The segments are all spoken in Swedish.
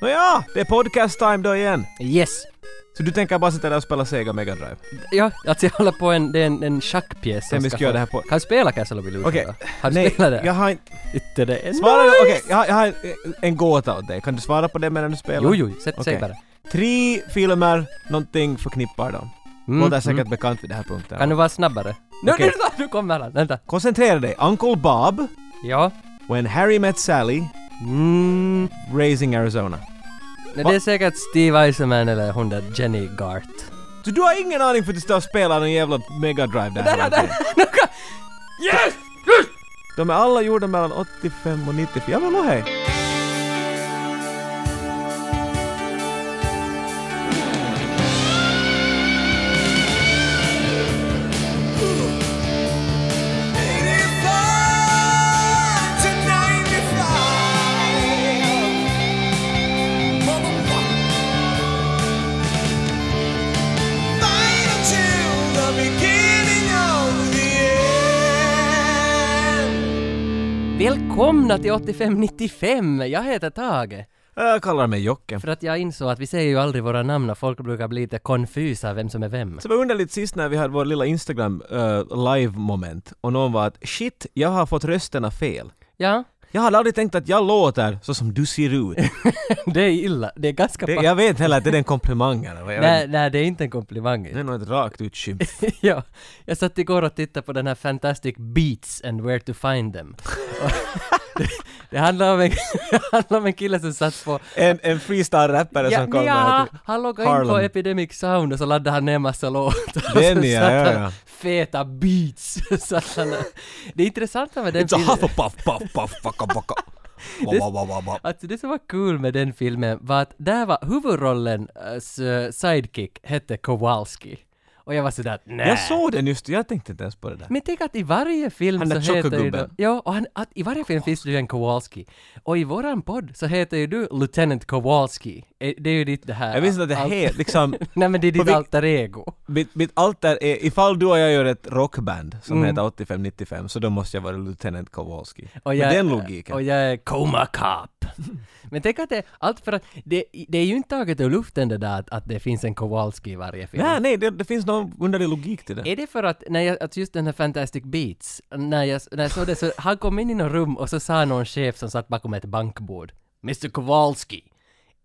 Nåja, det är podcast time då igen. Yes! Så du tänker bara sitta där och spela Sega Mega Drive? Ja, alltså jag håller på en, det är en, en schackpjäs. Sen vi ska ska göra få- det här på- Kan du spela Castle of Illusion Okej. då? Har du Nej, spelat det? jag har inte... Inte det än. Svara nu! Okej, jag har, jag har en, en gåta åt dig. Kan du svara på det medan du spelar? Jo, jo, sätt, säg Okej. bara. Tre filmer, någonting förknippar dem. Mm, Låter säkert mm. bekant vid det här punkten. Kan du vara snabbare? Nu, Okej. nu, nu kommer han! Vänta. Koncentrera dig. Uncle Bob, Ja. When Harry Met Sally, Mm. Raising Arizona. Nej, Va? Det är säkert Steve Eisenman eller hon där Jenny Gart. Så du har ingen aning för att du står och spelar någon jävla Mega Drive där hela tiden. Yes! De är alla gjorda mellan 85 och 94. Ja men nå hej! Välkomna till 8595! Jag heter Tage. Jag kallar mig Jocke. För att jag insåg att vi säger ju aldrig våra namn och folk brukar bli lite konfusa vem som är vem. Så det var underligt sist när vi hade vår lilla Instagram eh, live-moment och någon var att shit, jag har fått rösterna fel. Ja, Jag hade aldrig tänkt att jag låter så som du ser ut. det är illa. Det är ganska... Det, pa- jag vet heller att det är en komplimang eller vad jag vet. Nej, nej, det är inte en komplimang. Det är nog ett rakt ut skymf. ja, jag satt igår och tittade på den här Fantastic Beats and Where to Find Them. Och det, det, handlar om en, det handlar om en kille som satt på... En, en freestyle-rappare Ja, som kommer ja, till- han loggade in på Harlem. Epidemic Sound och så laddade han ner massa låtar. Och Den så ja, satt ja, han ja. Feta beats. så att han, det intressanta med den It's a filmen... hufflepuff, puff, puff, fucka, fucka. Wa, wa, wa, wa, wa. Alltså det som var kul med den filmen var att där var huvudrollens eh, sidekick hette Kowalski. Och jag var sådär att nej. Jag såg den just, jag tänkte inte ens på det där. Men tänk att i varje film Han där så heter ju tjocka då, Ja, och han, att i varje film finns det ju en Kowalski. Och i våran podd så heter ju du Lieutenant Kowalski. Eh, Det är ju ditt det här... Jag visste att det al- helt, liksom, Nej men det är På ditt vil- alter ego. mitt, mitt alter är, ifall du och jag gör ett rockband som Mm. heter 8595 så då måste jag vara Lieutenant Kowalski. Och Med den logiken. Och jag är coma cop. Men tänk att det, allt för att, det, det är ju inte taget ur luften det där att, att det finns en Kowalski i varje film. Nej, nej, det, det finns någon underlig logik till det. Är det för att, när jag, att just den här Fantastic Beats, när jag, när jag såg det så, han kom in i något rum och så sa någon chef som satt bakom ett bankbord, Mr Kowalski.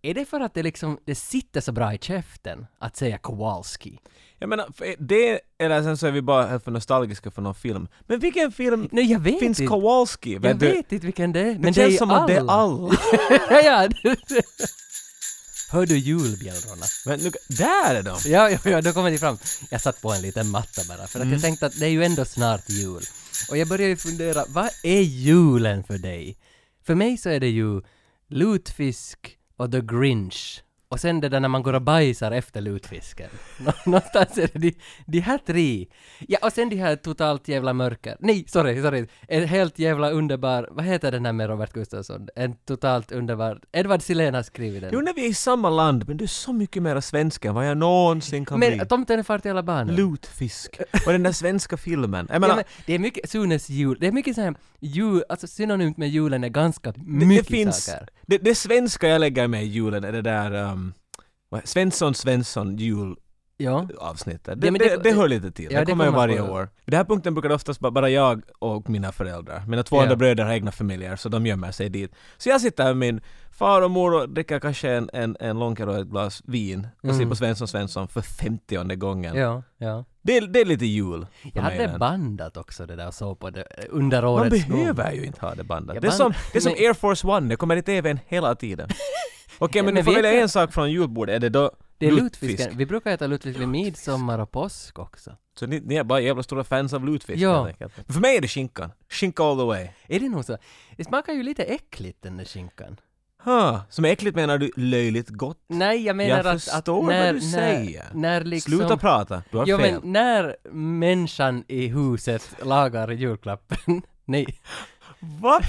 Är det för att det liksom, det sitter så bra i käften att säga Kowalski? Jag menar, för det, eller sen så är vi bara helt för nostalgiska för någon film. Men vilken film Nej jag vet finns inte. Kowalski? jag Vet du? vet inte vilken det är, men Det det, känns är som alla. att det är alla. ja, ja. Hör du julbjällrorna? Men nu, där är de! Ja, ja, ja, då kommer det fram. Jag satt på en liten matta bara, för att jag tänkte att det är ju ändå snart jul. Och jag började ju fundera, vad är julen för dig? För mig så är det ju lutfisk och the grinch. Och sen det där när man går och bajsar efter lutfisken. Nå- Någonstans är det de, de här tre. Ja, och sen de här totalt jävla mörker. Nej, sorry, sorry. En helt jävla underbar, vad heter den här med Robert Gustafsson? En totalt underbar, Edward Silén har skrivit den. Jo, när vi är i samma land, men du är så mycket mer svensk än vad jag någonsin kan bli. Men tomten är far till alla barnen. Lutfisk. Och den där svenska filmen. Jag Ja, menar, men det är mycket, Sunes jul, det är mycket så här, jul, alltså synonymt med julen är ganska det, det mycket finns... saker. Det, det svenska jag lägger med i julen är det där um, vad- Svensson Svensson jul Ja. avsnittet. Det, Ja, men det, det- det, hör lite till. ja, det det kommer ju kommer varje på. år. Vid den här punkten brukar det oftast ba- bara jag och mina föräldrar. Mina två Ja. andra bröder har egna familjer så de gömmer sig dit. Så jag sitter med min far och mor och dricker kanske en, en, en långkare och ett glas vin och ser Mm. på Svensson Svensson för femtionde gången. Ja, ja. Det, är- det är lite jul. för Jag mig hade den. bandat också det där och såg på det eh, under Man årets gång. behöver ju inte ha det bandat. Ja, det är som, band- det är som men- Air Force One, det kommer i TVn hela tiden. Okej, Ja, men, men du får vet välja jag- en sak från julbordet. Är det då Det är lutfisken. Vi brukar äta lutfisk vid midsommar och påsk också. Så ni, ni är bara jävla stora fans av lutfisk Ja. helt enkelt. Men För mig är det skinkan. Skinka all the way. Är det nog så? Det smakar ju lite äckligt den där skinkan. Huh. Som är äckligt menar du löjligt gott? Nej, jag menar Jag att, att förstår vad när, du när, säger. när liksom... Sluta prata, du har Jo fel. men när människan i huset lagar julklappen, nej, Va?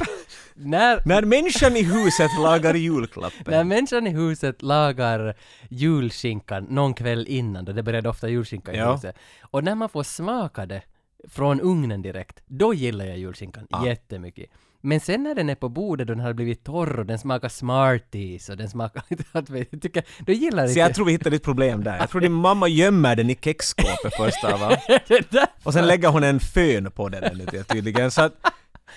när När människan i huset lagar julklappen. När människan i huset lagar julskinkan någon kväll innan, då det började ofta julskinka i Ja. huset, och Ah. när man får smaka det från ugnen direkt, då gillar jag julskinkan jättemycket. Men sen när den är på bordet och den har blivit torr och den smakar Smarties och den smakar lite allt möjligt, jag tycker, då gillar Så inte... jag tror vi hittade ett problem där. Jag tror din mamma gömmer den i kexskåpet först av allt. Det där- Och sen lägger hon en fön på den inuti tydligen. Så att,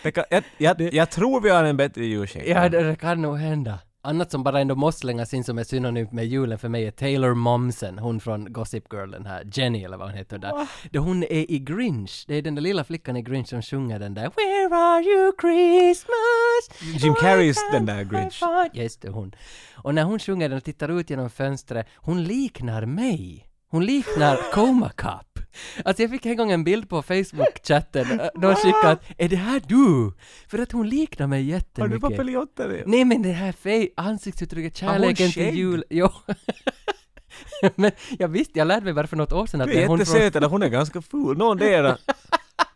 det kan, jag, jag, jag tror vi har en bättre julskinka. Ja, det, det kan nog hända. Annat som bara ändå måste slängas in som är synonymt med julen för mig är Taylor Momsen, hon från Gossip Girl, den här Jenny eller vad hon heter där. Det hon är i Grinch, det är den där lilla flickan i Grinch som sjunger den där “Where are you Christmas?” Jim Carreys I den där can't Grinch. find-" Ja, Just det, hon. Och när hon sjunger den och tittar ut genom fönstret, hon liknar mig. Hon liknar Coma Cup. Alltså jag fick en gång en bild på Facebook-chatten, Äh, någon skickade att “Är det här du?” För att hon liknar mig har du jättemycket. papiljotter i? Nej men det här fej, ansiktsuttrycket, hon kärleken till skägg? jul. Jo. men jag visste, jag lärde mig bara för något år sedan att Du det är är hon från jättesöt eller hon är ganska ful. Någondera.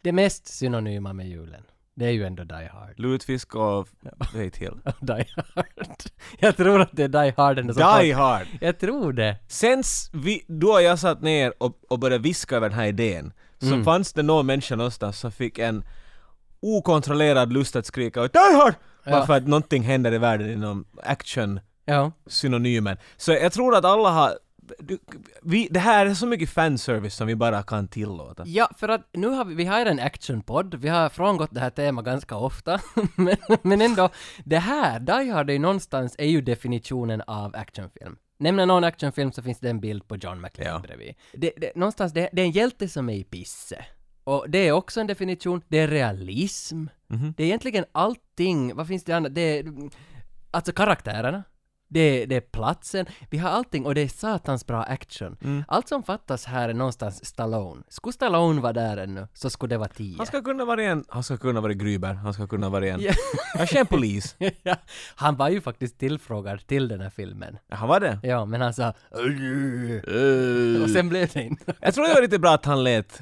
det mest synonyma med julen. Det är ju ändå Die Hard. Lutfisk och... Säg till. Die Hard. Jag tror att det är Die Hard ändå som Die folk- Hard! Jag tror det. Sen s- vi, du och jag satt ner och, och började viska över den här idén, så Mm. fanns det någon människa någonstans som fick en okontrollerad lust att skrika ut Die Hard! Bara Ja. för att någonting händer i världen inom action-synonymen. Ja. Så jag tror att alla har... Du, vi, det här är så mycket fanservice som vi bara kan tillåta. Ja, för att nu har vi, vi har ju en actionpodd, vi har frångått det här temat ganska ofta, men, men ändå, det här, Die Hard är ju någonstans, är ju definitionen av actionfilm. Nämner någon actionfilm så finns det en bild på John McClane Ja. bredvid. Det, det, någonstans, det, det är en hjälte som är i pisse. Och det är också en definition, det är realism. Det är egentligen allting, vad finns det annat? Det är, alltså karaktärerna. Det är, det är platsen, vi har allting och det är satans bra action. Mm. Allt som fattas här är någonstans Stallone. Skulle Stallone vara där ännu så skulle det vara 10. Han ska kunna vara en... Han ska kunna vara Gryber, han ska kunna vara en... Ja. Kanske en polis. Ja, han var ju faktiskt tillfrågad till den här filmen. Ja, Han var det. Ja, men han sa och sen blev det inte. Jag tror det var lite bra att han lät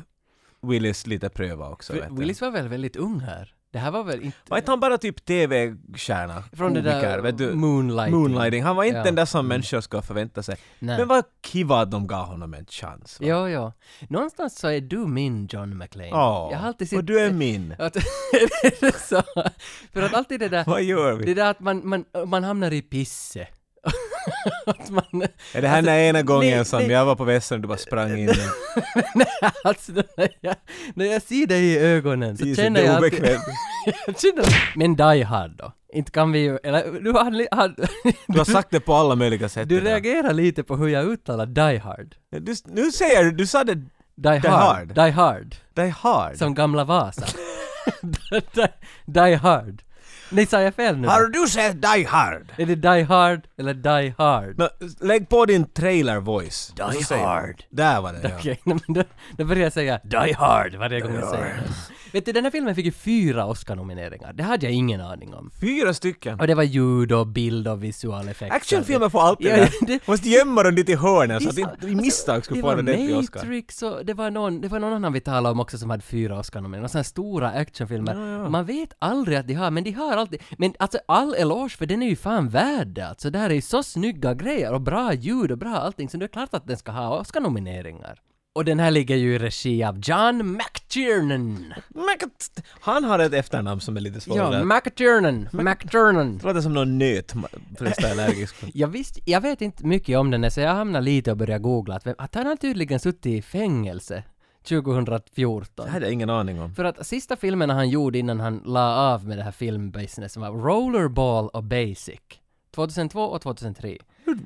Willis lite pröva också. vet du. Willis var väl väldigt ung här? Det här var väl inte... Var inte han bara typ TV-stjärna? Från det Komiker, där vet du? Moonlighting. Moonlighting. Han var inte Ja. den Mm. där som människor ska förvänta sig. Nej. Men vad kiva att de gav honom en chans. va? Ja, ja. Någonstans så är du min John McClane. Ja. Jag har alltid Och du är min. Att, är det så? För att alltid det där... Vad gör Det vi? där att man, man, man hamnar i pisse. att man... Är det här alltså, den ena gången nej, som nej. jag var på västern och du bara sprang in? alltså, när jag, när jag ser dig i ögonen så Jesus, känner det är jag alltid- obekvämt. jag känner, Men Die Hard då? Inte kan vi ju... Eller, du, har, li- har, Du har sagt det på alla möjliga sätt. du idag. reagerar lite på hur jag uttalar Die Hard. Du, nu säger du, du sa det Die, Die hard. Hard. Die Hard. Die Hard. Som gamla Vasa. die, die Hard. Nej, sa jag fel nu? Har du sett Die Hard? Är det Die Hard eller Die Hard? Nå, lägg på din trailer-voice. Die Så säger Hard. du. Där var det ja. Okej, nej, men då, då börjar jag säga Die Hard varje gång jag säger det. Vet du, den här filmen fick ju fyra Oscar-nomineringar. Det hade jag ingen aning om. Fyra stycken. Och det var ljud och bild och visual effekt. Actionfilmer får alltid Ja, det. ja, det- Måste gömma dem lite i hörnen så att inte i Alltså, misstag skulle det få en var ordentlig Oscar. Matrix och det var, någon, det var någon annan vi talade om också som hade fyra Oscar-nomineringar. Sådana stora actionfilmer. Man vet aldrig att de har, men de har alltid. Men alltså all eloge för den är ju fan värd det. Alltså det här är ju så snygga grejer och bra ljud och bra allting. Så det är klart att den ska ha Oscar-nomineringar. Och den här ligger ju i regi av John McTiernan. Mac- Han har ett efternamn som är lite svårare. Ja, McTiernan. McTiernan. det låter som någon nöt ma- förresten allergisk. Jag, visst, jag vet inte mycket om den här, så jag hamnade lite och började googla att, vem- att han har tydligen suttit i fängelse 2014. Det hade jag ingen aning om. För att sista filmen han gjorde innan han la av med det här filmbusinessen var Rollerball och Basic. 2002 och 2003.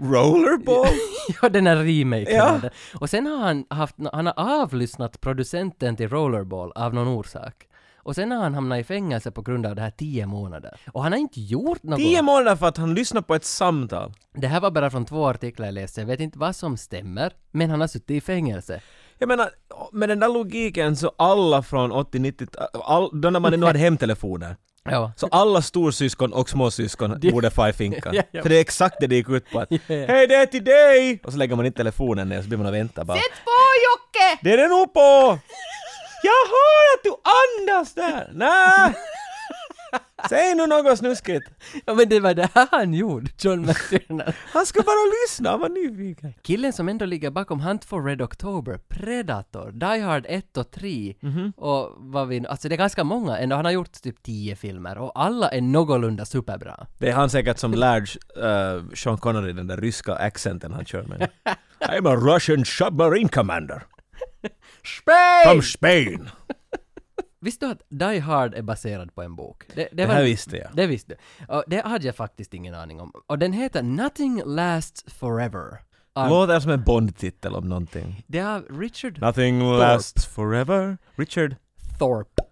Rollerball? Ja, den här remaken. Ja. av den. Och sen har han haft, han har avlyssnat producenten till Rollerball av någon orsak. Och sen har han hamnat i fängelse på grund av det här 10 månader. Och han har inte gjort något. Tio månader för att han lyssnar på ett samtal. Det här var bara från två artiklar jag läste, jag vet inte vad som stämmer, men han har suttit i fängelse. Jag menar, med den där logiken så alla från 80-90, all, då när man nu hade hemtelefoner, Ja. så alla storsyskon och småsyskon borde få i finkan. Ja, ja. För det är exakt det det gick ut på att ja. Hej det är till dig! Och så lägger man inte telefonen ner så blir man och väntar bara. Sätt på Jocke! Det är det nog på! Jag hör att du andas där! Nä! Säg nu något snuskigt! Ja men det var det här han gjorde, John McTiernan. Han skulle bara lyssna, han var nyfiken. Killen som ändå ligger bakom Hunt for Red October, Predator, Die Hard 1 och 3 Mhm. och vad vi alltså det är ganska många ändå, han har gjort typ 10 filmer och alla är någorlunda superbra. Det är han säkert som lärde eh, Sean Connery den där ryska accenten han kör med. I'm a Russian submarine commander from Spain! Spain. Visste du att Die Hard är baserad på en bok? Det, Det var- här visste jag. Det visste jag. Och det hade jag faktiskt ingen aning om. Och den heter Nothing Lasts Forever. Av- Låter som en Bond-titel om någonting. Det är av Richard Nothing lasts forever. Richard... Thorpe.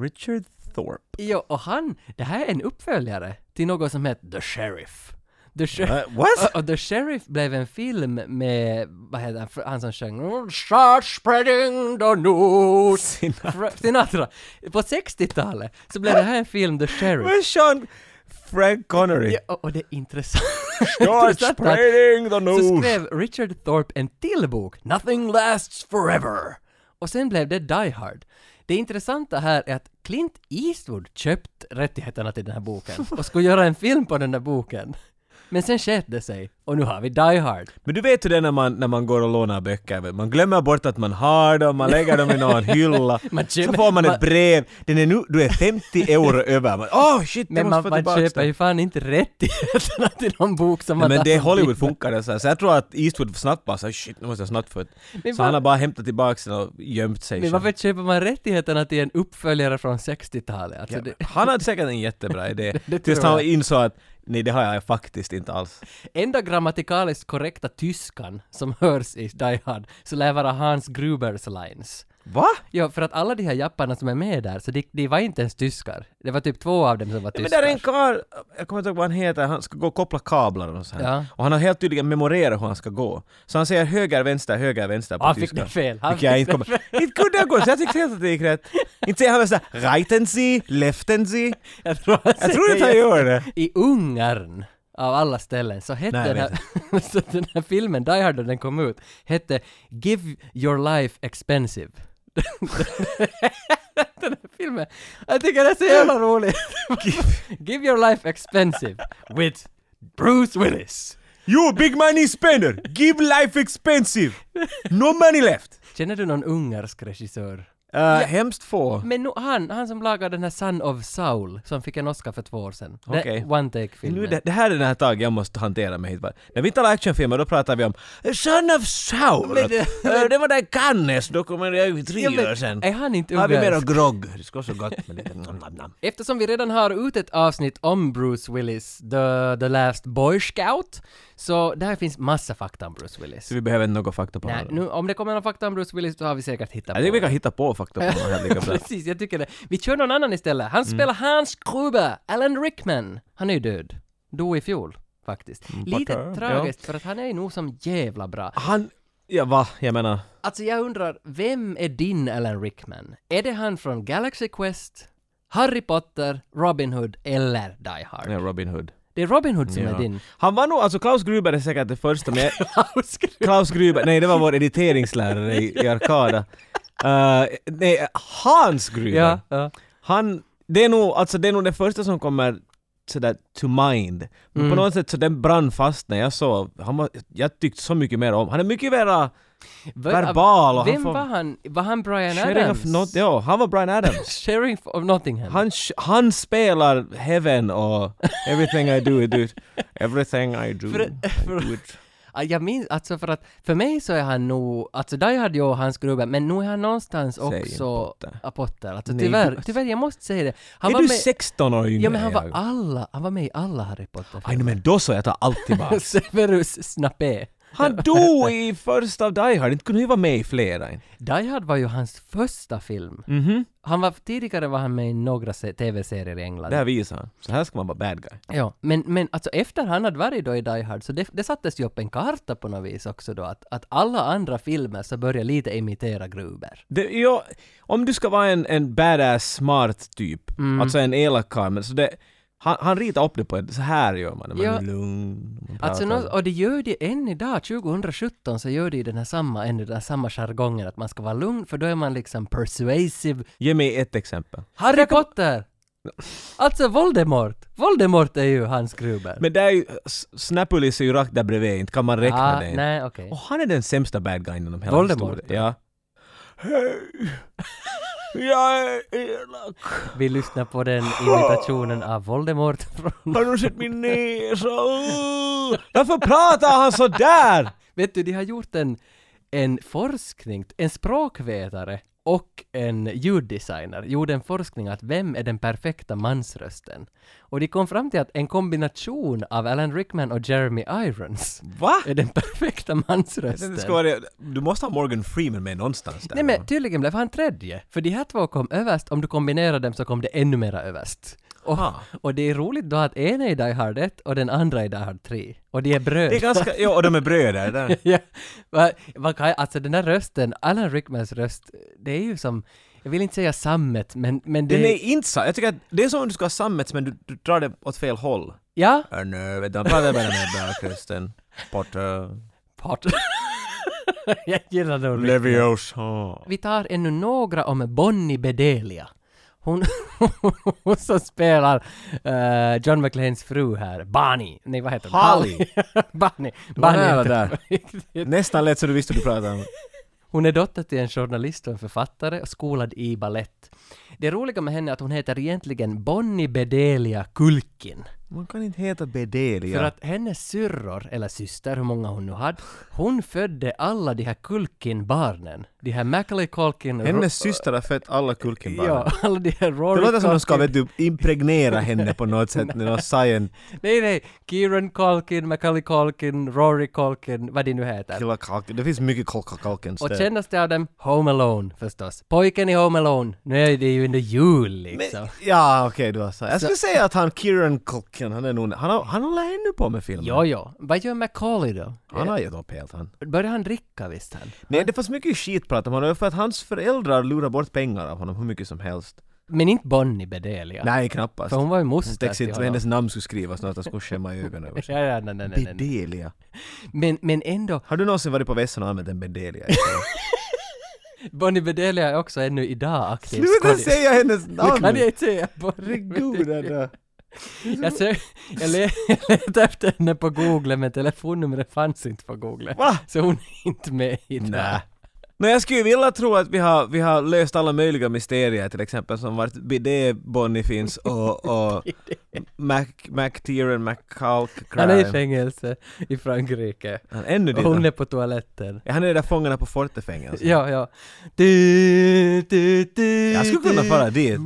Richard Thorpe. Jo, och han, det här är en uppföljare till något som heter The Sheriff. The Sheriff. Eh, what? Och, och The Sheriff blev en film med, vad heter han, han som sjöng Start spreading the news. Sina- Fra- Sinatra. På 60-talet så blev det här en film, The Sheriff. Men Sean... Frank Connery. Ja, och, och det är intressant. Start intressant att- spreading the Så news. skrev Richard Thorpe en till bok, Nothing Lasts Forever. Och sen blev det Die Hard. Det intressanta här är att Clint Eastwood köpt rättigheterna till den här boken och skulle göra en film på den här boken. Men sen sket det sig och nu har vi Die Hard. Men du vet hur det är när man, när man går och lånar böcker. vet du. Man glömmer bort att man har dem, man lägger dem i någon hylla. Man så köper- får man man- ett brev. Den är nu, du är 50 euro över. Man, oh shit, jag Men måste man, få man tillbaka köper den. ju fan inte rättigheterna till någon bok som Nej, man... men det är har- Hollywood funkar det så här. Så jag tror att Eastwood snabbt bara så här, shit nu måste jag snabbt få ett. Men Så var- han har bara hämtat tillbaka den och gömt sig. Men själv. varför köper man rättigheterna till en uppföljare från 60-talet? Alltså Ja, det, Han hade säkert en jättebra idé. det Tills tror han jag. insåg att nej det har jag faktiskt inte alls. enda grammatikaliskt korrekta tyskan som hörs i Die Hard så lär vara Hans Grubers lines. Va? Ja, för att alla de här japparna som är med där, så de, de var inte ens tyskar. Det var typ två av dem som var Ja, men tyskar. där är en karl, jag kommer inte ihåg vad han heter, han ska gå och koppla kablar och sånt. Ja. här. Och han har helt tydligen memorerat hur han ska gå. Så han säger höger, vänster, höger, vänster på Han fick tyska. det fel. Han Vilket jag fick inte kommer... Inte kunde jag gå, så jag tyckte helt att det gick rätt. Inte säger han väl såhär ”rightensi”, ”leftensi”. Jag tror, han Jag tror inte han säger- gör det. I Ungern, av alla ställen, så hette Nej, jag den, här, så den här filmen, Die Hard, när den kom ut, hette Give Your Life Expensive. den här filmen, jag tycker det är så jävla roligt. Give Your Life Expensive with Bruce Willis. You big money spender, give life expensive! No money left! Känner du någon ungersk regissör? Uh, Hemskt få. Men nu, han, han som lagade den här Son of Saul, som fick en Oscar för två år sedan. Den Okej. One Nu, Take-filmen. det, det här är den här taget jag måste hantera mig hit. va. När vi talar actionfilmer då pratar vi om Son of Saul. Men det- Eh, det, Äh, var där Cannes dokumentären för tre Ja, men år sedan. Är han inte Har vi ungersk? mer av grogg? Det ska vara så gott med lite nam, nam, nam. Eftersom vi redan har ut ett avsnitt om Bruce Willis, The, the Last Boy Scout, så där finns massa fakta om Bruce Willis. Så vi behöver inte några fakta på Nej, honom. nu, om det kommer någon fakta om Bruce Willis så har vi säkert hittat Jag på tycker vi det. kan hitta på fakta på honom här lika bra. Precis, jag tycker det. Vi kör någon annan istället. Han Mm. spelar Hans Gruber, Alan Rickman. Han är ju död. Dog i fjol, faktiskt. Mm. Lite tackar. tragiskt, för att han är ju nog som jävla bra. Han... Ja, va? Jag menar... Alltså jag undrar, vem är din Alan Rickman? Är det han från Galaxy Quest, Harry Potter, Robin Hood eller Die Hard? Ja, Robin Hood. Det är Robin Hood som Ja. är din. Han var nog... Alltså Klaus Gruber är säkert det första, men jag, Hauskruv. Klaus Gruber... Nej, det var vår editeringslärare i, i Arkada. Eh, nej, Hans Gruber. ja, ja. Han... Det är, nog, alltså, det är nog det första som kommer sådär to mind. Men Mm. på något sätt så den brann fast när jag såg... Han var, jag tyckte så mycket mer uh, om... Han är mycket mera V- verbal och Vem han får... var han? Var han Brian Adams? Sheriff Not- ja, han var Brian Adams. Sheriff of Nottingham? Han, han spelar Heaven och Everything I do, I do it. Everything I do, För- I do it. Ah, Jag minns, alltså för att, för mig så är han nog, alltså Die Hard och Hans Gruber, men nu är han någonstans Säg inte också Potter. Ah, Potter. Alltså Nej, tyvärr, du- tyvärr, jag måste säga det. Han är var du med, 16 år yngre Ja men han än var jag? alla, han var med i alla Harry Aj, Potter-filmer. nej, men då så, jag tar allt tillbaka. Severus Snape. Han dog i första av Die Hard, inte kunde ju vara med i flera. Die Hard var ju hans första film. Mhm. Han var, tidigare var han med i några se- tv-serier i England. Där visar han. Så här ska man vara bad guy. Ja, men, men alltså efter han hade varit då i Die Hard så det, det sattes ju upp en karta på något vis också då att, att alla andra filmer så börjar lite imitera Gruber. Det, ja, om du ska vara en, en badass smart typ, Mm. alltså en elak karl, men så det... Han, han ritar upp det på ett... Så här gör man. Man Ja. är lugn. Man Alltså, pratar. nå- och det gör det än idag, 2017 så gör det ju den här samma, än den här samma jargongen att man ska vara lugn för då är man liksom persuasive. Ge mig ett exempel. Harry Potter! Alltså Voldemort! Voldemort är ju Hans Gruber. Men där är ju, S- Snapulis är ju rakt där bredvid, inte kan man räkna ah, det. Nej, okej. Och han är den sämsta bad guyen inom hela Voldemort. historien. Ja. Hej! Jag är elak! Vi lyssnar på den imitationen av Voldemort från... Har du sett min näsa? Uh! Varför pratar han så där? Vet du, de har gjort en, en forskning, en språkvetare och en ljuddesigner gjorde en forskning att vem är den perfekta mansrösten? Och de kom fram till att en kombination av Alan Rickman och Jeremy Irons Va? är den perfekta Jag tänkte mansrösten. det ska vara det. Du måste ha Morgan Freeman med någonstans där. Nej men tydligen blev han tredje, för de här två kom överst, om du kombinerar dem så kom det ännu mera överst. Och, Aha. och det är roligt då att en är i Die Hard 1 och den andra är i Die Hard 3. Och de är Det är bröder. ganska... Ja, och de är bröder. Där. ja, va- man kan, alltså den där rösten, Alan Rickmans röst, det är ju som, jag vill inte säga sammet, men, men det... Den är inte så... Jag tycker att det är som om du ska ha sammets men du, du drar det åt fel håll. Ja? Äh, nej, vet du, han pratar bara med bögkusten. Potter. Part. jag gillar nog Rickman. Leviosa. Vi tar ännu några om Bonnie Bedelia. Hon, hon som spelar eh, John McLeans fru här, Bonnie. Nej vad heter hon? Holly. Bonnie. var Bonnie nära heter där. hon på riktigt. Nästan lät så du visste du pratade om. Hon är dotter till en journalist och en författare och skolad i ballett. Det roliga med henne är att hon heter egentligen Bonnie Bedelia Kulkin. Man kan inte heta För Bedelia. att hennes syrror, eller syster, hur många hon nu hade, hon födde alla de här Kulkin-barnen. De här Macaulay Culkin och Hennes syster har fött alla Kulkenbarn. Ja, alla de här Rory Det låter som de ska Culkin- vet du, impregnera henne på något sätt med någon science Nej, nej. Kieran Culkin, Macaulay Culkin, Rory Culkin, vad det nu heter. killa kalken. Det finns mycket kalk- kalkens Och där. kändaste av dem, Home Alone förstås. Pojken i Home Alone. Nu är det ju ändå jul liksom. Men, ja, okej du har sagt. Jag skulle säga att han Kieran Culkin, han är nog... Han har, han håller ännu på med filmen. Jo, jo. Vad gör Macaulay då? Han har gett upp helt han. Börjar han dricka visst han? Nej, det fanns mycket skitprat om honom för att hans föräldrar lurar bort pengar av honom hur mycket som helst. Men inte Bonnie Bedelia. Nej, knappast. För hon var ju Hon moster täcks till inte, honom. hennes namn skulle skrivas något, jag skulle skämma i ögonen över sig. Ja, ja, nej, nej, nej, nej. Bedelia. Men, men ändå, Har du någonsin varit på vässan och använt en Bedelia? Bonnie Bedelia är också ännu idag aktiv Sluta skådis. säga hennes Det kan jag namn! inte säga. Bonnie Herregud Anna. Jag, sö- jag le- jag letade efter henne på Google men telefonnumret fanns inte på Google. Va? Så hon är inte med i det Nej. här. Men jag skulle vilja tro att vi har, vi har löst alla möjliga mysterier till exempel som vart Bidé Bonnie finns och, och Mac, Mac Tieran McCalk Han är i fängelse i Frankrike. Han är ännu Och hon dit. är på toaletten. Ja, Han är där fångarna på Fortefängelset. Ja, ja. Du, du, du, Jag skulle kunna du. fara dit.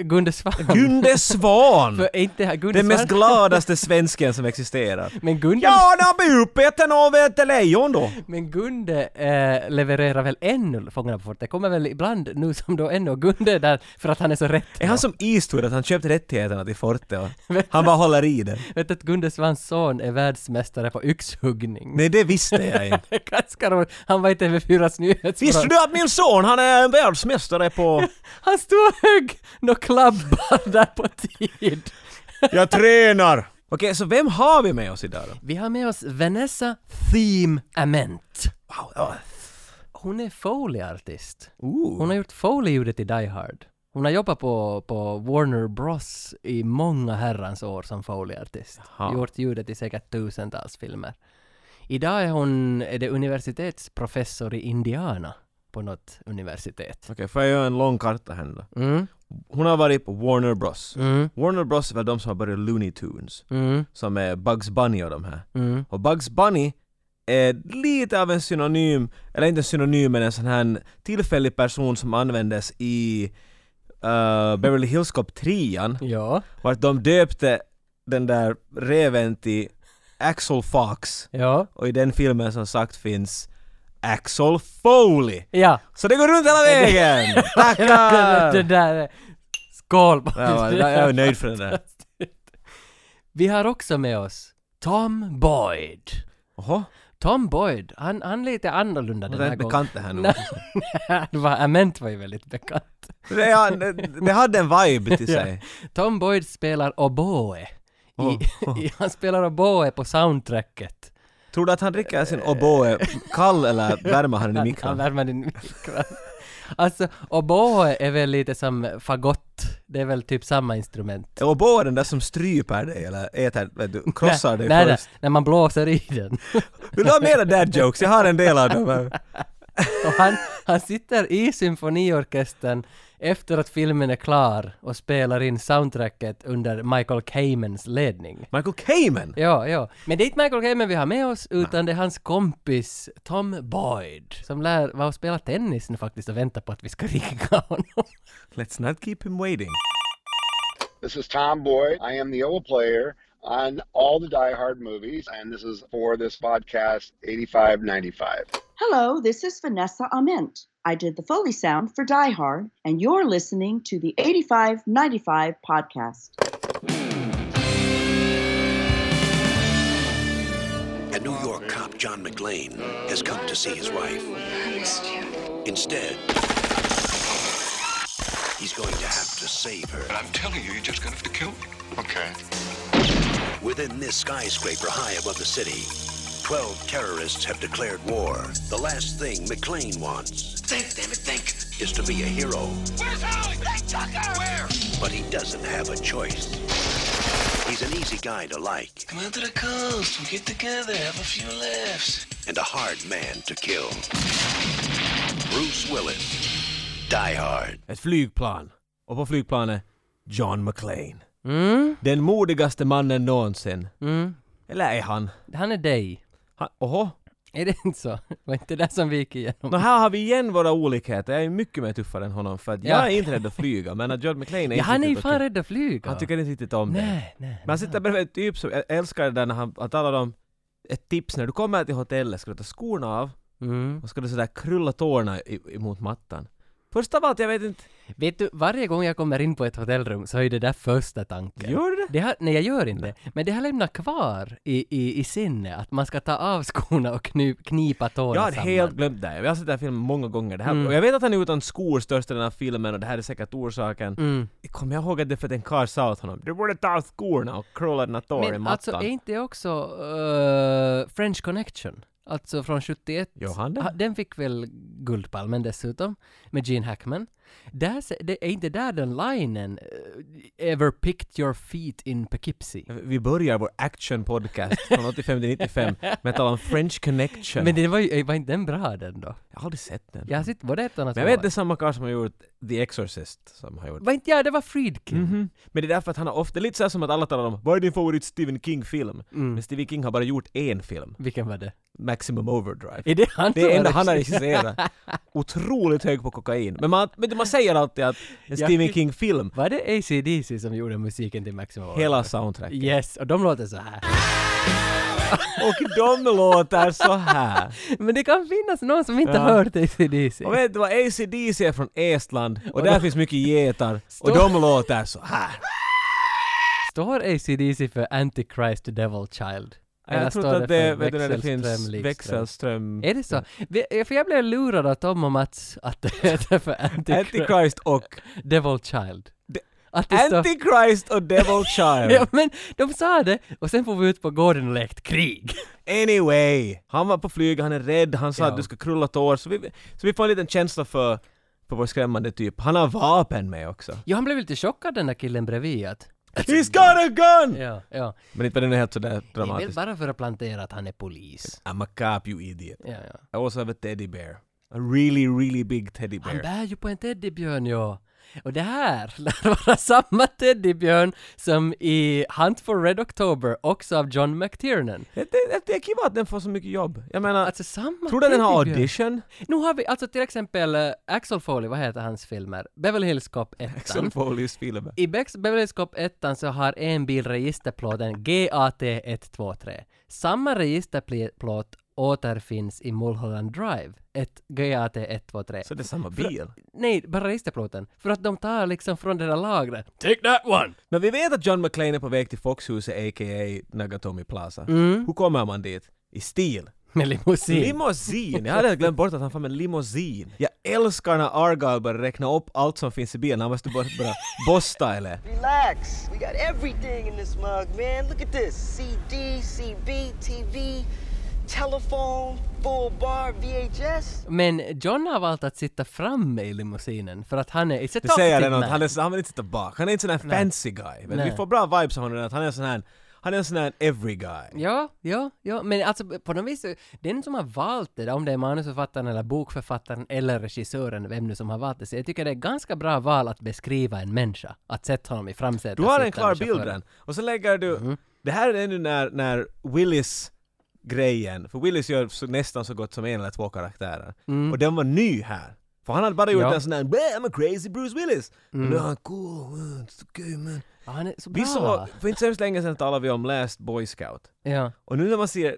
Gunde Svan. Gunde Svan! För är inte det här Gunde Den mest Svan. gladaste svensken som existerar. Men Gunde, Ja, när blir uppäten av ett lejon då? men Gunde eh, levererar väl ännu Fångarna på fortet? Det kommer väl ibland nu som då ännu. Och Gunde är där för att han är så rätt. Är han som Eastwood, att han köpte rättigheterna till Forte och han bara håller i det? Vet du att Gunde Svans son är världsmästare på yxhuggning? Nej, det visste jag inte. Det är Ganska roligt. Han var i TV4s Visste nyhetsprogram. du att min son, han är en världsmästare på... Han stod och högg några klabbar där på tid. Jag tränar! Okej, så vem har vi med oss idag då? Vi har med oss Vanessa Theme Ament. Wow, ja. Hon är foleyartist. Hon Ooh. har gjort foley-ljudet i Die Hard. Hon har jobbat på, på Warner Bros i många herrans år som foleyartist. Jaha. Gjort ljudet i säkert tusentals filmer. Idag är hon är det universitetsprofessor i Indiana på något universitet. Okej, får jag göra en lång karta här nu då? Mm, Hon har varit på Warner Bros. mm, Warner Bros är väl de som har börjat Looney Tunes, mm, som är Bugs Bunny och de här. mm. Och Bugs Bunny är lite av en synonym, eller inte en synonym men en sån här tillfällig person som användes i eh, Beverly Hills Cop 3 Ja, vart de döpte den där reven till Axel Fox ja. och i den filmen som sagt finns Axel Foley. Ja, Så det går runt hela vägen! det Tackar! där är... Skål! Ah! Ja, Jag är nöjd för den där. Vi har också med oss Tom Boyd. Jaha, Tom Boyd, han, han är lite annorlunda det den är här inte gången. bekant det här nu. Nej, det var, Ament var ju väldigt bekant. Det, ja, det, det hade en vibe till Ja. sig. Tom Boyd spelar oboe. I, Oh, oh. i, han spelar oboe på soundtracket. Tror du att han dricker sin O'boe kall eller värmer han den i Han, han mikron? värmer din mikron. Alltså, oboe är väl lite som fagott. Det är väl typ samma instrument. Och Bo är den där som stryper dig eller äter, vet du, krossar dig nej, nej, först. när man blåser i den. Vill du ha mera dad jokes? Jag har en del av dem. här. Och han, han sitter i symfoniorkestern efter att filmen är klar och spelar in soundtracket under Michael Caymans ledning. Michael Kamen! Ja, ja. Men det är inte Michael Kamen vi har med oss, utan det är hans kompis Tom Boyd. Som lär vara och spela tennis nu faktiskt och väntar på att vi ska ringa honom. Let's not keep him waiting. This is Tom Boyd. I am the old player on all the Die Hard movies, and this is for this podcast 8595. Hello, this is Vanessa Ament. I did the Foley sound for Die Hard, and you're listening to the 8595 podcast. A New York cop, John McLean, has come to see his wife. I missed you. Instead, he's going to have to save her. I'm telling you, you're just gonna have to kill me. Okay. Within this skyscraper high above the city, 12 terrorists have declared war. The last thing McLean wants. Think, damn it, think! Is to be a hero. Where's Howie? Hey, Tucker! Where? But he doesn't have a choice. He's an easy guy to like Come out to the coast. We'll get together. Have a few laughs. and a hard man to kill. Bruce Willis. Die Hard. Ett flygplan. Och på flygplanet, John McClane. Mm, Den modigaste mannen någonsin. mm. Eller är han? Han är dig. han oho. Är det inte så? Var inte det som vi gick igenom? Nå här har vi igen våra olikheter. Jag är mycket mer tuffare än honom för att jag Ja. är inte rädd att flyga men att John McClane är Ja, inte han är ju riktigt fan okej. rädd att flyga. Han tycker inte riktigt om det. Nej, nej. Men han sitter bredvid en typ som, jag älskar det där när han, han talar om ett tips när du kommer till hotellet ska du ta skorna av Mm. och ska du sådär krulla tårna i, emot mattan. Först av allt, jag vet inte, Vet du, varje gång jag kommer in på ett hotellrum så är det där första tanken. gör du det? Det har, nej, jag gör inte. Men det har lämnat kvar i, i, i sinne att man ska ta av skorna och kny, knipa tårna Jag hade samman. helt glömt det. Jag har sett den här filmen många gånger. Det här, Mm. Och jag vet att han är utan skor störst i den här filmen och det här är säkert orsaken. Mm. Kommer jag ihåg att det är för att en karl sa åt honom Du borde ta av skorna och crawla dina tår i Men alltså, mattan. är inte det också eh, French Connection? Alltså från 71. Johan den? Ah, Den fick väl Guldpalmen dessutom, med Gene Hackman. Där, se- det, är inte där den linen eh, ”Ever picked your feet in Poughkeepsie”? Vi börjar vår action-podcast från 85 till 95 med att tala om French Connection. Men det var ju, var inte den bra den då? Jag har aldrig sett den. Jag har sett både ett och annat Men jag vet år. det är samma karl som har gjort The Exorcist som har gjort Var inte jag, det var Friedkin. Mhm. Men det är därför att han har ofta, lite såhär som att alla talar om Vad är din favorit Stephen King-film? Mm. Men Stephen King har bara gjort en film, Vilken var det? Maximum Overdrive. Är det han Det är det som enda har han har regisserat? regisserat. Otroligt hög på kokain. Men man, men man säger alltid att en Stephen King-film, Var det ACDC som gjorde musiken till Maximum Overdrive? hela soundtracket. Yes, och de låter så här. Och de låter så här. Men det kan finnas någon som inte Ja. har hört ACDC. Och vet du vad, ACDC är från Estland och, Och där de- finns mycket getar och Stor- de låter så här. Står ACDC för Antichrist Devil Child? Eller Jag tror står att det, för vet du, när det växelström, finns likström? växelström... Är det så? Vi- För jag blev lurad av Tom och Mats att det heter för Antichrist Antichrist och... Devil Child. De- Att det står... Antichrist och Devil Ja, Child! men de sa det och sen får vi ut på gården och lekt krig. Anyway! Han var på flyg, han är rädd, han sa Ja. att du ska krulla tår, så vi, så vi får en liten känsla för, för vår skrämmande typ. Han har vapen med också. Ja, han blev lite chockad den där killen bredvid att... He's got a gun! Ja, ja. Men inte var det helt sådär Det är väl dramatiskt. bara för att plantera att han är polis. I'm a cop you idiot. Ja, ja. I also have a teddy bear. A really, really big teddy Han bear. bär ju på en teddybjörn, ja. Och det här lär vara samma teddybjörn som i Hunt for Red October, också av John McTiernan. Det, det, det är kiva att den får så mycket jobb. Jag menar, Alltså samma tror du att den har teddybjörn. audition? Nu har vi alltså till exempel eh, Axel Foley, vad heter hans filmer? Beverly Hills Cop 1. Axel Foleys film. I Bex- Beverly Hills Cop 1 så har en bil registerplåten GAT123. Samma registerplåt återfinns i Mulholland Drive, ett GAT123. Så det är samma bil. Nej, bara registerplåten. För att de tar liksom från det där lagret. Take that one! Men vi vet att John McClane är på väg till Foxhuset a.k.a. Nagatomi Plaza. Mm. Hur kommer man dit? I stil. Med limousin. Limousin! Jag hade helt glömt bort att han fann en limousin. Jag älskar när Argyle börjar räkna upp allt som finns i bilen. Han måste bara, bara bosta eller... Relax. We got everything in this mug, man. Look at this CD, CB, TV, telephone, full bar, VHS. Men John har valt att sitta framme i limousinen för att han är... It's a Det säger talkative den att man. han, är, han vill inte sitta bak, han är inte sån här fancy guy. Men Nej. vi får bra vibes av honom, att han är sån här, han är en sån här every guy. Ja, ja, ja, men alltså på något vis, den som har valt det, där, om det är manusförfattaren eller bokförfattaren eller regissören, vem nu som har valt det, så jag tycker det är ganska bra val att beskriva en människa, att sätta honom i framsätet. Du har en sitta klar med bild chauffören. redan. Och så lägger du, Mm-hmm. det här är nu när, när Willis grejen, för Willis gör så, nästan så gott som en eller två karaktärer. Och den var ny här. För han hade bara gjort Mm. Ja. Mm. en sån där "Bah, I'm a crazy Bruce Willis. Men nu är han cool, uh, it's okay, man. Ja, han är så bra! Vi såg, för inte så hemskt länge sedan talade vi om Last Boy Scout. Ja. Och nu när man ser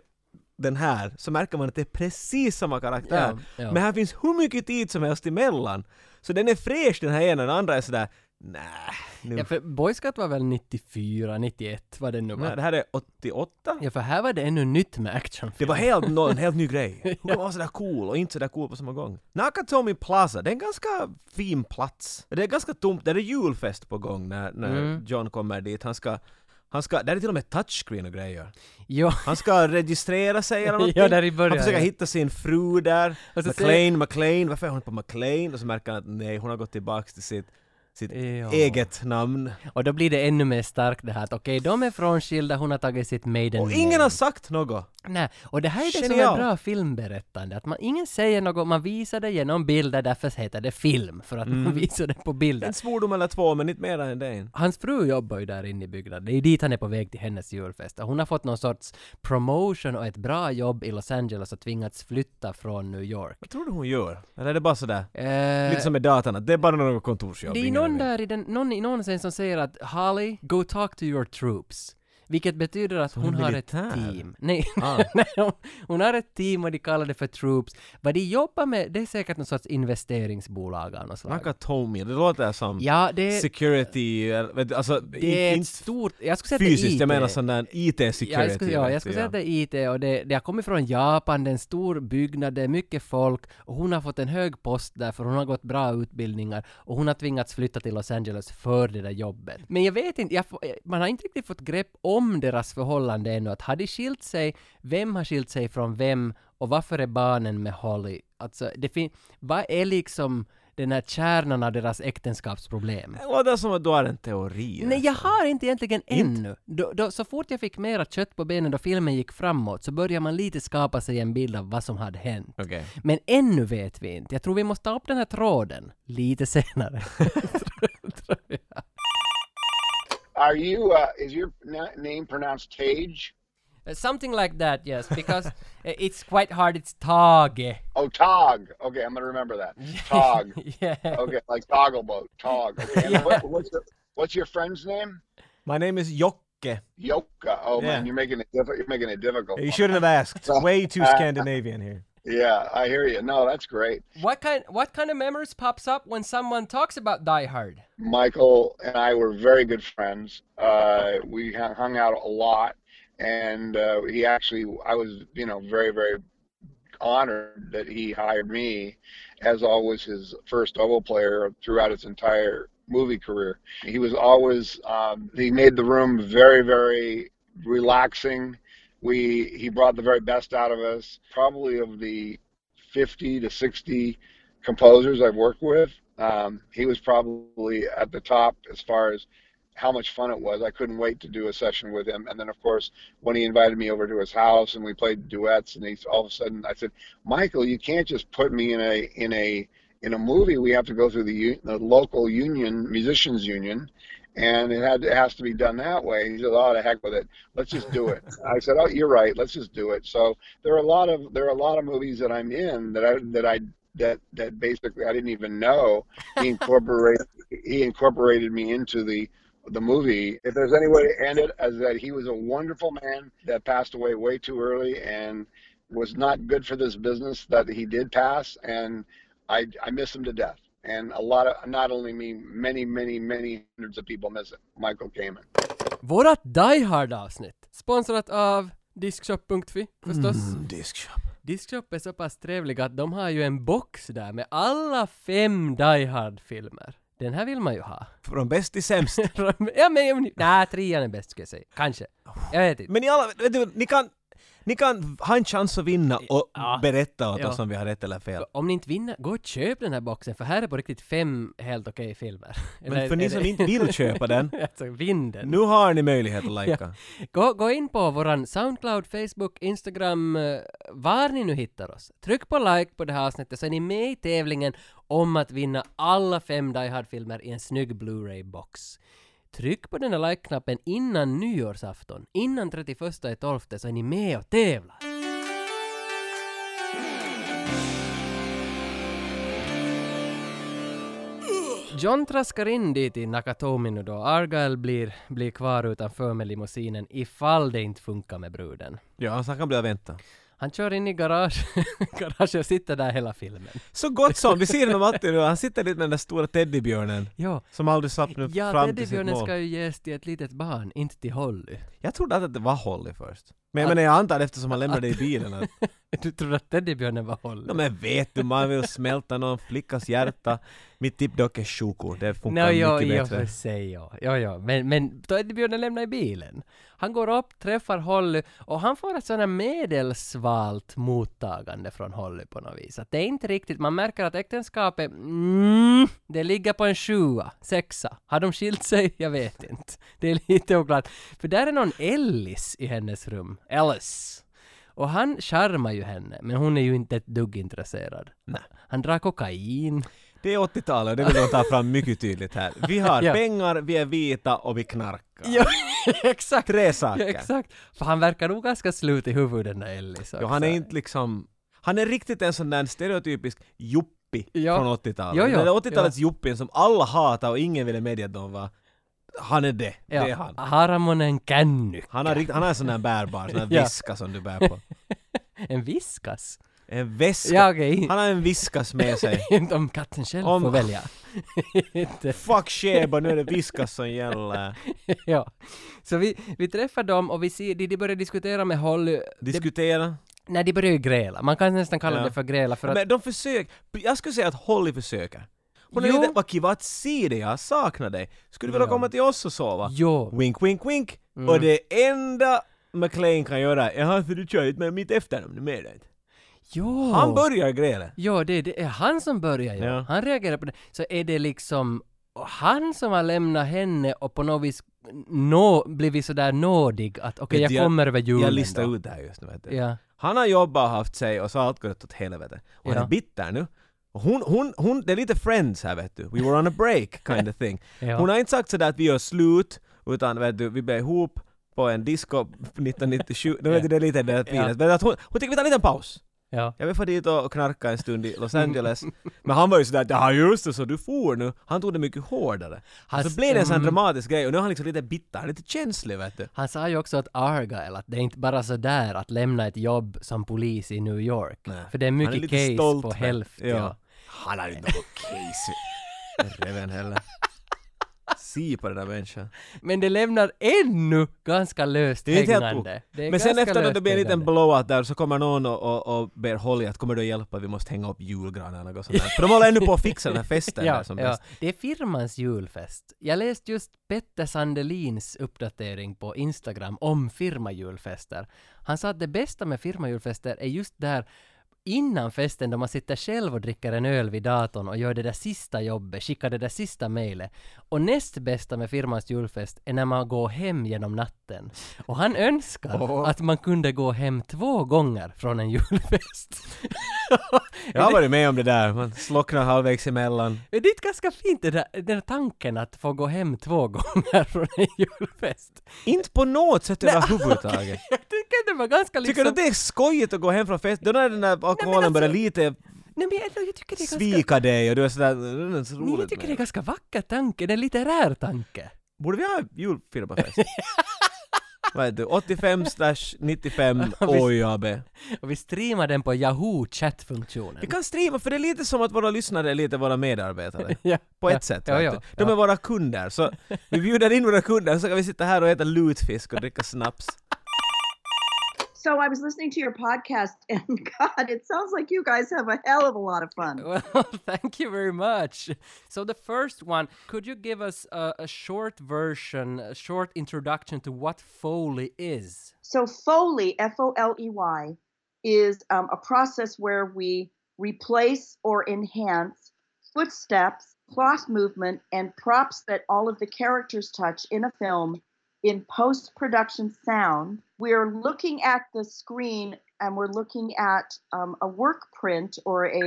den här så märker man att det är precis samma karaktär. Ja, ja. Men här finns hur mycket tid som helst emellan. Så den är fräsch den här ena, den andra är sådär nej. nu ja, för Boy Scout var väl 94, 91, vad det nu Nej, var. det här är 88? Ja, för här var det ännu nytt med action. Det var helt, nå- en helt ny grej. Hur kan man vara sådär cool och inte sådär cool på samma gång? Nakatomi Plaza, det är en ganska fin plats. Det är ganska tomt, det är julfest på gång när, när Mm. John kommer dit. Han ska, han ska, där är till och med touchscreen och grejer. Ja, Han ska registrera sig eller någonting. Ja, där i början, Han försöker ja. hitta sin fru där. Och så McLean, McLean, varför är hon på McLean? Och så märker han att nej, hon har gått tillbaks till sitt, sitt Ja. eget namn. och då blir det ännu mer starkt det här att okej, de är frånskilda, hon har tagit sitt maiden Och name. ingen har sagt något. Nej, och det här är det som är Genialt. bra filmberättande, att man, ingen säger något, man visar det genom bilder, därför heter det film, för att Mm. man visar det på bilder. En svordom eller två, men inte mer än det. än. Hans fru jobbar ju där inne i byggnaden, det är dit han är på väg till hennes julfest. Och hon har fått någon sorts promotion och ett bra jobb i Los Angeles och tvingats flytta från New York. Vad tror du hon gör? Eller är det bara sådär? Eh, Lite som med datorn, att det är bara något kontorsjobb. det är ingen någon aning. där i den, någon i nonsen som säger att Holly, go talk to your troops. Vilket betyder att hon hon är har ett militär? team. Nej, Ah. nej hon, hon har ett team och de kallar det för troops. Vad de jobbar med, det är säkert någon sorts investeringsbolag av något slag. Nakatomi, det låter som Ja, det, security, eller- vet du, alltså det är inte ett stort... Jag skulle säga att det är fysiskt, jag IT. menar sån där IT-security. Ja, jag skulle, ja, jag vet du, skulle säga att det är IT och det, det har kommit från Japan, det är en stor byggnad, det är mycket folk och hon har fått en hög post där för hon har gått bra utbildningar och hon har tvingats flytta till Los Angeles för det där jobbet. Men jag vet inte, jag, får- man har inte riktigt fått grepp om deras förhållande ännu, att har de skilt sig, vem har skilt sig från vem och varför är barnen med Holly? Alltså, det fin- vad är liksom den här kärnan av deras äktenskapsproblem? Det låter som att du har en teori. Nej, jag har inte egentligen Inte? ännu. Då, då, så fort jag fick mera kött på benen då filmen gick framåt så började man lite skapa sig en bild av vad som hade hänt. Okej. Men ännu vet vi inte. Jag tror vi måste ta upp den här tråden lite senare. Tror jag. Are you? Uh, is your na- name pronounced Tage? Something like that, yes, because eh, it's quite hard, it's Tage. Oh, Tog. Okay, I'm gonna remember that. Tog. yeah. Okay, like toggle boat. Tog. Okay. And what, what's, the, what's your friend's name? My name is Jocke. Yoka. Oh Yeah. man, you're making it. Diff- you're making it difficult. You shouldn't have asked. It's way too Scandinavian here. Yeah, I hear you. No, that's great. What kind, what kind of memories pops up when someone talks about Die Hard? Michael and I were very good friends. Uh, we hu- hung out a lot, and uh, he actually, I was, you know, very, very honored that he hired me as always his first double player throughout his entire movie career. He was always, um, he made the room very, very relaxing. We, he brought the very best out of us, probably of the 50 to 60 composers I've worked with. Um, he was probably at the top as far as how much fun it was. I couldn't wait to do a session with him. And then, of course, when he invited me over to his house and we played duets, and he's all of a sudden, I said, "Michael, you can't just put me in a in a in a movie. We have to go through the, u- the local union, musicians union." And it had it has to be done that way. He said, "Oh, to heck with it. Let's just do it." I said, "Oh, you're right. Let's just do it." So there are a lot of there are a lot of movies that I'm in that I that I that that basically I didn't even know he incorporated he incorporated me into the the movie. If there's any way to end it, is that he was a wonderful man that passed away way too early and was not good for this business that he did pass, and I I miss him to death. And a lot of not only me, many many many hundreds of people miss it. Michael Kamen. Vårat Die Hard-avsnitt. Sponsrat av Diskshop.fi förstås. Diskshop. Diskshop är så pass trevliga att de har ju en box där med alla fem Die Hard-filmer. Den här vill man ju ha. Från bäst till sämst. ja men... Nej, trean är bäst ska jag säga. Kanske. Jag vet inte. Men ni alla, vet du, ni kan... Ni kan ha en chans att vinna och Ja. berätta åt Ja. oss om vi har rätt eller fel. Om ni inte vinner, gå och köp den här boxen för här är på riktigt fem helt okej filmer. Men för ni som inte vill köpa den, alltså, vinn den. nu har ni möjlighet att likea. Gå, gå in på våran Soundcloud, Facebook, Instagram, eh, var ni nu hittar oss. Tryck på like på det här avsnittet så är ni med i tävlingen om att vinna alla fem Die Hard-filmer i en snygg Blu-ray-box. Tryck på den här like-knappen innan nyårsafton, innan 31.12 så är ni med och tävlar. John traskar in dit i Nakatomi nu då. Argyle blir, blir kvar utanför med limousinen ifall det inte funkar med bruden. Ja, så han kan bli att vänta. Han kör in i garage, garage och sitter där hela filmen. Så gott som! Vi ser honom alltid nu, han sitter dit med den där stora teddybjörnen. Ja, Som aldrig slapp nu ja fram till sitt teddybjörnen mål. ska ju ges till ett litet barn, inte till Holly. Jag trodde att det var Holly först. Men jag menar, jag antar eftersom han lämnade det i bilen att... Du trodde att teddybjörnen var Holly? Ja, men vet du, man vill smälta någon flickas hjärta. Mitt tipp dock är Shuko, det funkar Nej, ja, mycket i och bättre. för sig ja. ja, ja. Men, men teddybjörnen lämnar i bilen. Han går upp, träffar Holly och han får ett sånt här medelsvalt mottagande från Holly på något vis. Att det är inte riktigt, man märker att äktenskapet, mm, det ligger på en sjua, sexa. Har de skilt sig? Jag vet inte. Det är lite oklart. För där är någon Ellis i hennes rum. Ellis. Och han charmar ju henne, men hon är ju inte ett dugg intresserad. Han drar kokain. Det är 80-talet och det vill de ta fram mycket tydligt här. Vi har Ja. pengar, vi är vita och vi knarkar. Ja, exakt. Tre saker. Ja, exakt. För han verkar nog ganska slut i huvudet den där Ellis också. Jo, han är inte liksom... Han är riktigt en sån där stereotypisk juppi Ja. från 80-talet. Jo, jo, Den där 80-talets juppin som alla hatar och ingen ville medge att de var... Han är det. Det är ja, han. Haramonen Känny. Han har, rikt, han har en sån där bärbar, sån där Ja. viska som du bär på. En viskas. En väska. Ja, okej. Han har en viskas med sig. Inte Om katten själv Om- får välja. Inte. Fuck Sheba, nu är det viskas som gäller. ja. Så vi, vi träffar dem och vi ser, de, de börjar diskutera med Holly. Diskutera. Nej, de börjar ju gräla. Man kan nästan kalla Ja. det för gräla för att... Men de försöker. Jag skulle säga att Holly försöker. Hon är Jo. lite, vad kiva att se dig, jag saknar dig. Skulle du vilja Ja. komma till oss och sova? Jo. Mm. Wink, wink, wink. Och det enda McLean kan göra är att du kör inte med mitt efternamn, du menar inte. Jo. Han börjar gräla. Ja, det, det är han som börjar ju. Ja. Han reagerar på det. Så är det liksom han som har lämnat henne och på något vis nå, blivit sådär nådig att okej, Vet du, jag kommer över julen Jag listar då. ut det här just nu. Vet du. Ja. Han har jobbat och haft sig och så har allt gått åt helvete. Och han Ja. är bitter nu. Och hon, hon, hon, det är lite Friends här vet du. We were on a break kind of thing. Ja. Hon har inte sagt sådär att vi gör slut, utan vet du, vi blev ihop på en disco 1997. Nu vet du, det är lite det där Ja. pinigt. Men att hon, hon tycker vi tar en liten paus. Ja. Jag vill få dit och knarka en stund i Los Angeles. Men han var ju sådär ja just det, så du får nu. Han tog det mycket hårdare. Han- så blev det en sån här mm. dramatisk grej och nu är han liksom lite bitter, lite känslig vet du. Han sa ju också att Argyle, att det är inte bara sådär att lämna ett jobb som polis i New York. För det är mycket han är lite case stolt, på men- hälften. Ja. Ja. Han har ju inte något case. Reven heller. Si på den där människan. Men det lämnar ännu ganska löst Det är inte helt hängande. ok. Det är Men sen ganska efter att löst det blir en liten hängande. blowout där så kommer någon och, och, och ber Holly att kommer du hjälpa, vi måste hänga upp julgranen eller något sånt där. För de håller ännu på att fixa den här festen där som bäst. Det är firmans julfest. Jag läste just Petter Sandelins uppdatering på Instagram om firmajulfester. Han sa att det bästa med firmajulfester är just där innan festen då man sitter själv och dricker en öl vid datorn och gör det där sista jobbet, skickar det där sista mejlet. Och näst bästa med firmans julfest är när man går hem genom natten. Och han önskar att man kunde gå hem två gånger från en julfest. Jag har varit med om det där, man slocknar halvvägs emellan. Men Det är inte ganska fint det där, den där tanken att få gå hem två gånger från en julfest. Inte på något sätt överhuvudtaget. Jag tycker det var ganska liksom... Tycker du att det är skojigt att gå hem från fest? Då när den där alkoholen alltså, börjar lite Nej men jag, jag tycker det är ganska... svika dig och du är sådär... "Mm, Det är så Nej, jag roligt tycker med det är det." ganska vacker tanke, det är en litterär tanke. Borde vi ha julfirmafest? Vad heter du? 85 slash 95 visst. OJAB. Och vi streamar den på Yahoo chattfunktionen. Vi kan streama, för det är lite som att våra lyssnare är lite våra medarbetare. Ja. På ett Ja. sätt. Ja, vet ja, du. De ja. är våra kunder, så vi bjuder in våra kunder så kan vi sitta här och äta lutfisk och dricka snaps. So I was listening to your podcast, and God, it sounds like you guys have a hell of a lot of fun. Well, thank you very much. So the first one, could you give us a, a short version, a short introduction to what Foley is? So Foley, F O L E Y, is um, a process where we replace or enhance footsteps, cloth movement, and props that all of the characters touch in a film in post production sound. We're looking at the screen and we're looking at um, a work print or a,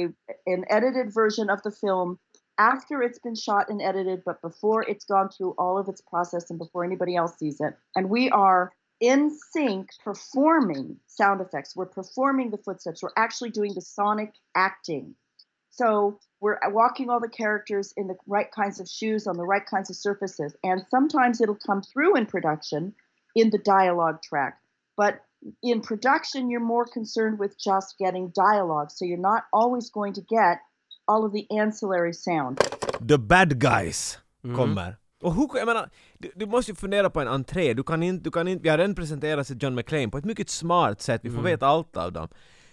an edited version of the film after it's been shot and edited, but before it's gone through all of its process and before anybody else sees it. And we are in sync performing sound effects. We're performing the footsteps. We're actually doing the sonic acting. So we're walking all the characters in the right kinds of shoes on the right kinds of surfaces. And sometimes it'll come through in production in the dialogue track. But in production, you're more concerned with just getting dialogue. So you're not always going to get all of the ancillary sound. The bad guys kommer. Och hur, jag menar, du, du måste ju fundera på en entré, du kan inte, du kan inte, vi har redan presenterat sig John McClane på ett mycket smart sätt, vi får veta allt av dem.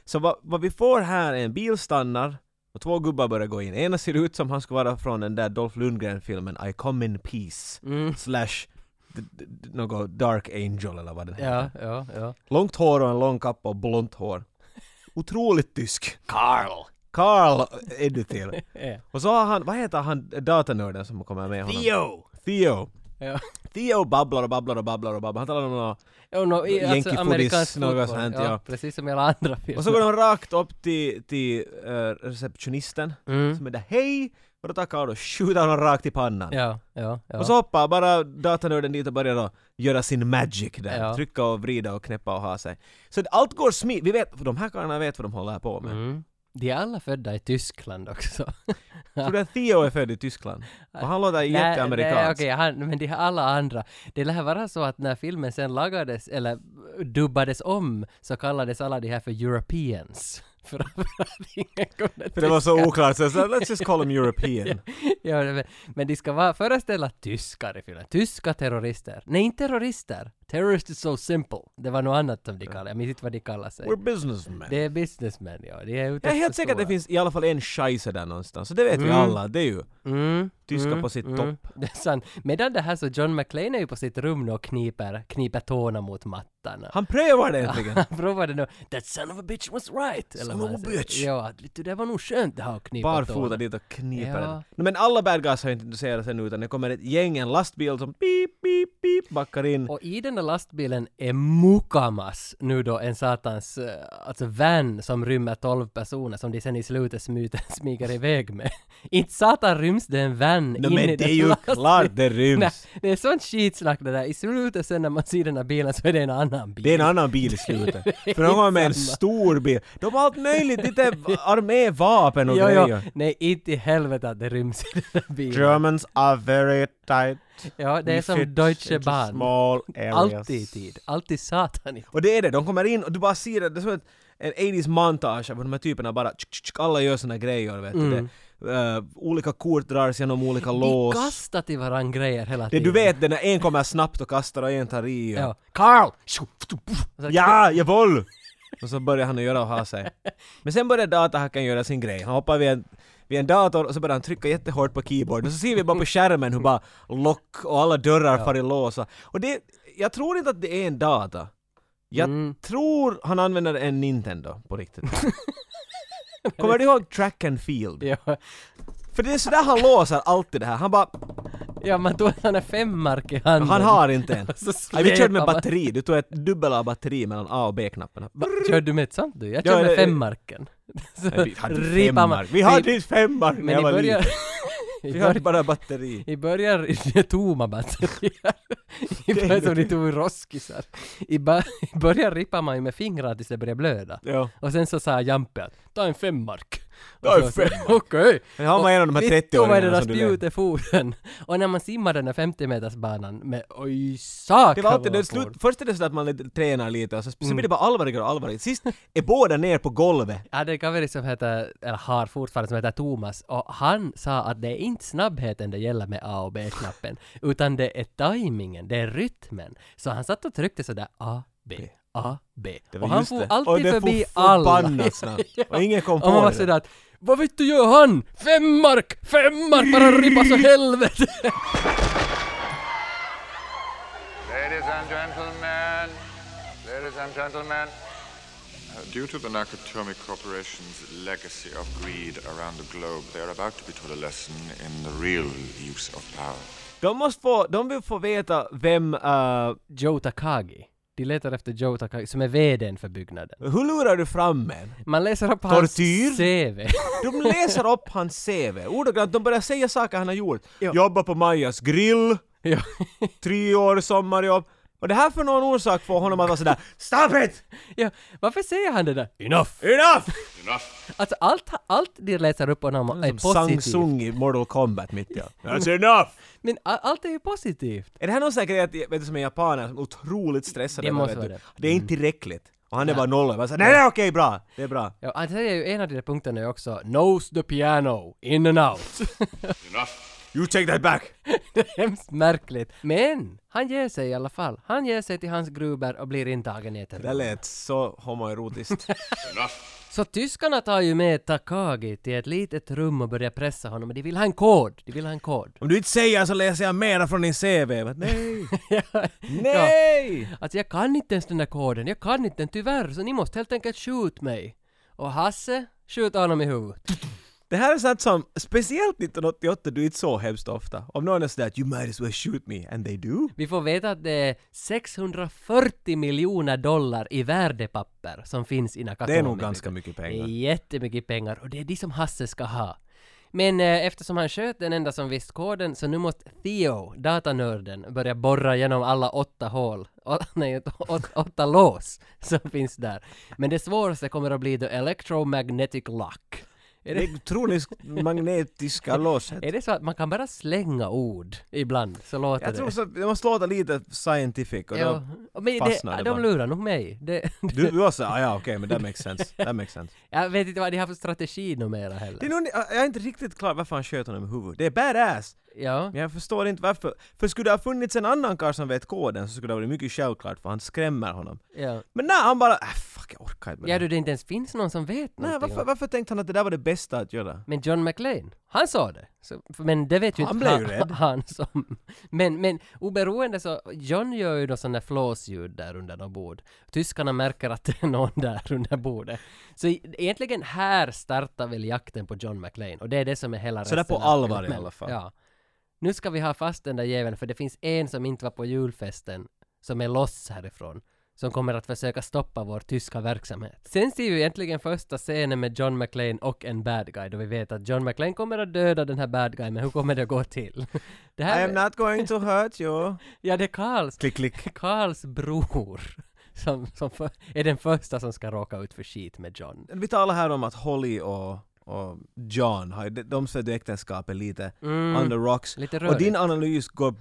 Så vad, vad vi får här är en bil stannar, och två gubbar börjar gå in. Ena ser ut som han ska vara från den där Dolph Lundgren-filmen I come in peace, slash d- d- d- något Dark Angel eller vad den heter. Ja, ja, ja. Långt hår och en lång kappa och blont hår. Otroligt tysk. Carl! Carl är du till. Ja. Och så har han, vad heter han, datanörden som kommer med honom? Theo! Theo. ja. Theo babblar och babblar och babblar och babblar. Han talar om något. Jo, no, i, alltså, Yankee amerikansk foodis, något fotboll. sånt, ja, ja. Precis som i alla andra filmer. Och så går de rakt upp till, till eh, receptionisten Mm. som är där hej! Och då tackar han och skjuter honom rakt i pannan. Ja, ja, ja. Och så hoppar bara datanörden dit och börjar då göra sin magic där. Ja. Trycka och vrida och knäppa och ha sig. Så att allt går smidigt. Vi vet, för de här karlarna vet vad de håller på med. Mm. De är alla födda i Tyskland också. Tror du att Theo är född i Tyskland? Och han låter jätteamerikansk. Nej, okej, han, men de här alla andra. Det lär vara så att när filmen sen lagades, eller dubbades om, så kallades alla de här för Europeans. För att, för att ingen kunde För det var så tyska. oklart, så jag sa, let's just call him European. ja, men, men de ska vara, föreställa tyskar i filmen. Tyska terrorister. Nej, inte terrorister. Terrorist is so simple. Det var något annat som de kallade, jag minns inte vad de kallade sig. We're businessmen. Det är businessmen, ja. De Jag är ute är efter helt säker att det stora. finns i alla fall en scheisse där någonstans, så det vet vi alla. Det är ju Mm, tyska på sitt topp. det är sant. Medan det här så John McClane är ju på sitt rum nu och kniper, kniper tårna mot mattan. Han prövar det äntligen! Han provade nu ”That son of a bitch was right”. Eller Son vad of a han säger. bitch. Ja, att lite, det var nog skönt det här att knipa Barfota tårna. dit och kniper Ja. den. Nej, Men alla bad guys har ju inte intresserat sig nu utan det kommer ett gäng, en lastbil som pip, pip, pip backar in. Och i den där lastbilen är Mukamas nu då en satans, eh, alltså van som rymmer 12 personer som de sen i slutet smyter, smyger iväg med. Inte satan ryms det en van Nej, in men det i den är ju lastbilen. klart det ryms. Nej, det är sånt skitsnack det där. I slutet sen när man ser den här bilen så är det en annan bil. Det är en annan bil i slutet. För de har med en stor bil. De har allt möjligt, lite armévapen och jo, jo. grejer. Nej, inte i helvete att det ryms i den där bilen. Germans are very tight. Ja, det We är som fit Deutsche into Bahn. Small areas. Alltid i tid. Alltid satan i tid. Och det är det, de kommer in och du bara ser det, det är som ett, en 80s montage av de här typerna bara, tsk, tsk, tsk, alla gör såna grejer vet du. Det, eh, olika kort dras genom olika De lås. Mm. kastar till varandra grejer hela Det tiden. du vet det är när en kommer snabbt och kastar och en tar i. Ja. Ja, Carl! Tjo, tjo, tjo. Och så- ja jawohl! Och så börjar han att göra och ha sig. Men sen börjar datahacken göra sin grej. Han hoppar vid en, vid en dator och så börjar han trycka jättehårt på keyboarden. Och så ser vi bara på skärmen hur bara lock och alla dörrar far i låsa. Och det, jag tror inte att det är en data. Jag Mm. tror han använder en Nintendo på riktigt. Kommer du ihåg track and field? Ja, För det är sådär han låser alltid det här. Han bara, ja, man tog såna fem mark i handen. han har inte en. Mm. Så Nej, vi körde med släpar man- batteri, du tog ett dubbel av batteri mellan A och B-knapparna. Va, Körde du med ett sånt du? Jag Ja, körde med det- femmarken. Så Nej, Vi hade inte ripar man- femmar, vi hade inte femmar när Men jag i var början... liten. i Vi hade början- bara batteri. I början är det tomma batterier. I början som de tog roskisar. I, ba- I början rippar man ju med fingrarna tills det börjar blöda. Ja. Och sen så sa Jampe att ta en femmark. Ta Och en så- femmark. Okej. Men han var en av de här Och vittu vad 30-åringarna det där som du spjutet i foten. Och när man simmar den där 50 metersbanan med oj satan Det var alltid vad det man slut, får. först är det så att man lite, tränar lite och så, Mm. så blir det bara allvarligare och allvarligare. Sist är båda ner på golvet. Jag hade en kaveri som heter, liksom eller har fortfarande, som heter Thomas och han sa att det är inte snabbheten det gäller med A och B-knappen utan det är tajmingen, det är rytmen. Så han satt och tryckte sådär A, B, A, B. Det var Och han just for det. alltid Och det for förbi alla. förbannat snabbt. Och ingen kom Och man på var det. sådär att, vad vet du gör han? Fem mark! Fem mark! Bara rippa så helvete! Ladies and gentlemen, ladies and gentlemen. Uh, Due to the Nakatomi Corporation's legacy of greed around the globe, they are about to be taught a lesson in the real use of power. De måste få, de vill få veta vem, eh, Joe Takagi. De letar efter Joe Takagi, som är VDn för byggnaden. hur lurar du fram en? Man läser upp Tortyr? hans CV. De läser upp hans CV, ordagrant, de börjar säga saker han har gjort. Jobbar på Majas grill, ja. tre år sommarjobb. Och det här för någon orsak får honom att vara sådär Stop it! ja. Varför säger han det där? Enough! Enough! Alltså allt, allt de läser upp om honom är Som Sang positivt. Sung i Mortal Kombat mitt i allt. That's enough! Men a- allt är ju positivt. Är det här någon säker att, vet du, som är japaner, som är otroligt stressad Det över, måste vet vara du. det. Det är inte tillräckligt. Och han är bara noll och såhär nej, nej okej, bra, det är bra. Ja, han säger ju en av de där punkterna är också Knows the piano, in and out. You take that back! det är hemskt märkligt. Men! Han ger sig i alla fall. Han ger sig till hans gruber och blir intagen i ett Det där rum. lät så homoerotiskt. Så tyskarna tar ju med Takagi till ett litet rum och börjar pressa honom. Men de vill ha en kod. De vill ha en kod. Om du inte säger så läser jag mera från din CV. Men nej! Ja. Nej! Alltså jag kan inte ens den där koden. Jag kan inte den tyvärr. Så ni måste helt enkelt skjuta mig. Och Hasse skjuter honom i huvudet. Det här är sånt som, speciellt 1988, du inte så hemskt ofta. Om någon är sådär “You might as well shoot me” and they do. Vi får veta att det är 640 miljoner dollar i värdepapper som finns i Nakatomi. Det är nog ganska mycket Det är pengar. jättemycket pengar och det är de som Hasse ska ha. Men eh, eftersom han sköt den enda som visste koden så nu måste Theo, datanörden, börja borra genom alla åtta hål, å, nej, åt- åt, åtta lås som finns där. Men det svåraste kommer att bli the electromagnetic lock. Är det, Elektroniskt magnetiska låset. är det så att man kan bara slänga ord ibland så låter Jag det? tror så, det måste låta lite scientific och Ja, då, men fastnar det, det de bara. lurar nog mig. Det, du, du var såhär ah, ja okej men that makes sense, that makes sense. jag vet inte vad de har för strategi numera heller. Det är nog, jag är inte riktigt klar varför han sköt honom i huvudet. Det är badass! Ja. Men jag förstår inte varför. För skulle det ha funnits en annan karl som vet koden så skulle det ha varit mycket självklart för han skrämmer honom. ja. Men nej, han bara äh, fuck jag orkar inte med Ja det du, det inte ens finns någon som vet här." Nej, någonting varför, om- varför tänkte han att det där var det bästa att göra? Men John McLean, han sa det. Så, för- men det vet ju Han inte blev ju rädd. han som... Men, men oberoende så, John gör ju då sådana flåsljud där under något bord. Tyskarna märker att det är någon där under bordet. Så e- egentligen här startar väl jakten på John McLean och det är det som är hela Så där resten på av allvar i filmen. alla fall. Ja. Nu ska vi ha fast den där jäveln för det finns en som inte var på julfesten som är loss härifrån som kommer att försöka stoppa vår tyska verksamhet. Sen ser vi egentligen första scenen med John McClane och en bad guy då vi vet att John McClane kommer att döda den här bad guyen men hur kommer det att gå till? Det I här am not going to hurt you. Ja, det är Karls, klick klick. Karls bror som, som för, är den första som ska råka ut för skit med John. Vi talar här om att Holly och, och John, har, de, de stödde äktenskapet lite on the rocks. Mm. Lite och din rörigt. analys går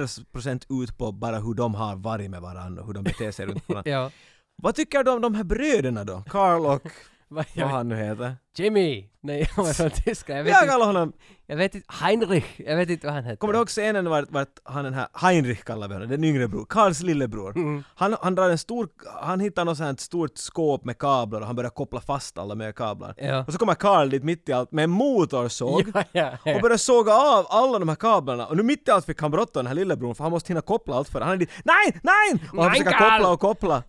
100% ut på bara hur de har varit med varandra och hur de beter sig runt varandra. Ja. Vad tycker du om de här bröderna då? Carl och Vad vad han nu heter. Jimmy! Nej, han var från tyska. Jag Vi vet, har inte, kallat honom jag vet inte. Heinrich! Jag vet inte vad han heter. Kommer du ihåg scenen vart, vart han den här Heinrich kallar vi honom, den yngre bror, Karls lillebror. Mm. Han, han drar en stor, han hittar något sånt här stort skåp med kablar och han börjar koppla fast alla med kablar. Ja. Och så kommer Karl dit mitt i allt med en motorsåg Ja, ja, ja. och börjar såga av alla de här kablarna. Och nu mitt i allt fick han bråttom den här lillebror för han måste hinna koppla allt för det. Han är dit, nej, nej! Och han Nej, försöker Karl! koppla och koppla.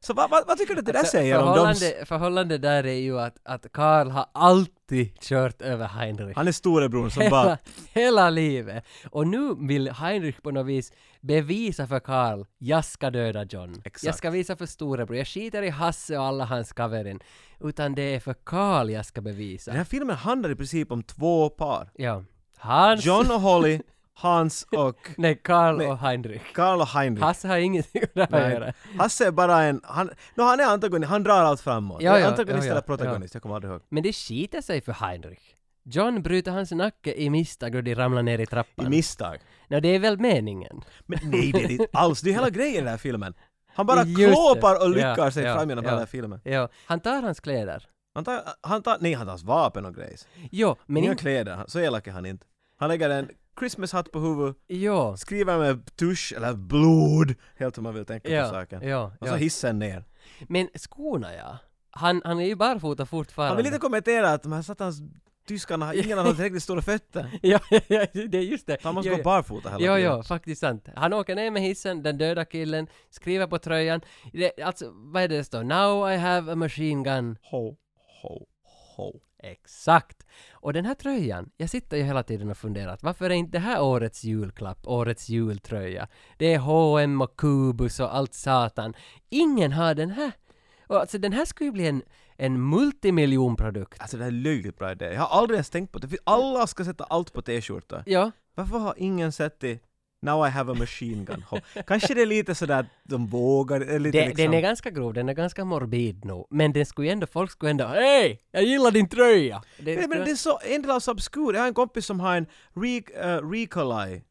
Så vad, vad, vad tycker du att det där Alltså, säger om dem? förhållande, förhållande där är ju att, att Karl har alltid kört över Heinrich. Han är storebror som bara Hela, hela livet. Och nu vill Heinrich på något vis bevisa för Karl, jag ska döda John. Jag Exakt. ska visa för storebror, jag skiter i Hasse och alla hans kaverin. Utan det är för Karl jag ska bevisa. Den här filmen handlar i princip om två par. Ja. Hans... John och Holly, Hans och Nej, Karl Nej. och Heinrich. Karl och Heinrich. Hasse har ingenting med det att göra. Nej. Hasse är bara en... Han, no, han är antagonist, han drar allt framåt. Ja, ja, antagonist ja, ja, eller protagonist, jag kommer aldrig ihåg. Men det skiter sig för Heinrich. John bryter hans nacke i misstag och de ramlar ner i I trappan. misstag. Nå, det är väl meningen? Men nej, det är det inte alls. Det är hela grejen i den här filmen. Han bara Just det. klåpar och Ja, lyckar sig ja, fram genom hela ja. den här filmen. Ja, han tar hans kläder. Han tar, han tar... Nej, han tar hans vapen och grejs. Jo, men Inga inte kläder, så elak är han inte. Han lägger en Christmas-hatt på huvudet, Ja. skriver med tusch eller blod, helt hur man vill tänka på Ja, saken. ja, Och så ja. hissen ner. Men skorna ja. Han, han är ju barfota fortfarande. Han vill inte kommentera att de här satans tyskarna, ingen har tillräckligt stora fötter. Ja, ja, det är just det. Han måste ja, gå ja. barfota hela Ja, tiden. ja, faktiskt sant. Han åker ner med hissen, den döda killen, skriver på tröjan. Det, alltså, vad är det det står? Now I have a machine gun. Ho, ho, ho. Exakt! Och den här tröjan, jag sitter ju hela tiden och funderar att varför är inte det här årets julklapp, årets jultröja? Det är H&M och Kubus och allt satan. Ingen har den här! Och alltså den här skulle ju bli en, en multimiljonprodukt. Alltså det här är löjligt bra idé. Jag har aldrig ens tänkt på det. För Alla ska sätta allt på t-skjortor. Ja, Varför har ingen sett det? Now I have a machine gun. Ho. Kanske det är lite sådär att de vågar, det är lite det, liksom... den är ganska grov, den är ganska morbid nog. Men den skulle ju ändå, folk skulle ändå Hej! Jag gillar din tröja! Det, Nej, men det är så, en del av så obskur. Jag har en kompis som har en Re, eh, Recolai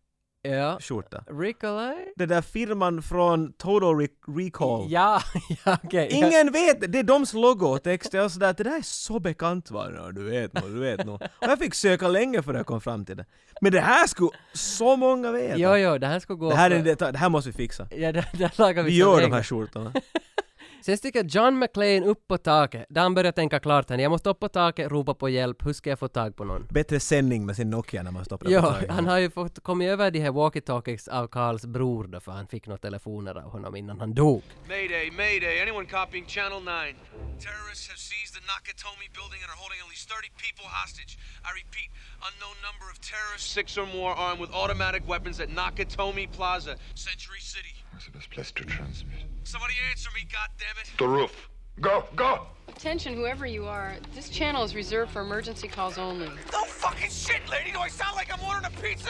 Ja. skjorta. Ricolai? Den där firman från Total Re- Recall. Ja, ja okej. ja. Ingen vet! det. Det är deras logotext. Jag var sådär att det där är så bekant va? Ja, Du vet nog, du vet nog. Och jag fick söka länge för att jag kom fram till det. Men det här skulle så många veta! Jo, jo, det här skulle gå det, här för- är, det, det här måste vi fixa. Ja, där, där lagar vi Vi gör de servering. här skjortorna. Sen sticker John McLean upp på taket, där han börjar tänka klart han, jag måste upp på taket, ropa på hjälp, hur ska jag få tag på någon? Bättre sändning med sin Nokia när man stoppar den på Ja, taget. han har ju fått, kommit över de här walkie-talkies av Karls bror då, för han fick några telefoner av honom innan han dog. Mayday, mayday. Anyone copying Channel 9? Terrorists have seized the Nakatomi building and are holding at least 30 people hostage. I repeat, unknown number of terrorists, six or more, armed with automatic weapons at Nakatomi Plaza, Century City. That's the best place to transmit. Somebody answer me, goddammit. The roof. Go, go! Attention, whoever you are. This channel is reserved for emergency calls only. No fucking shit, lady! Do I sound like I'm ordering a pizza?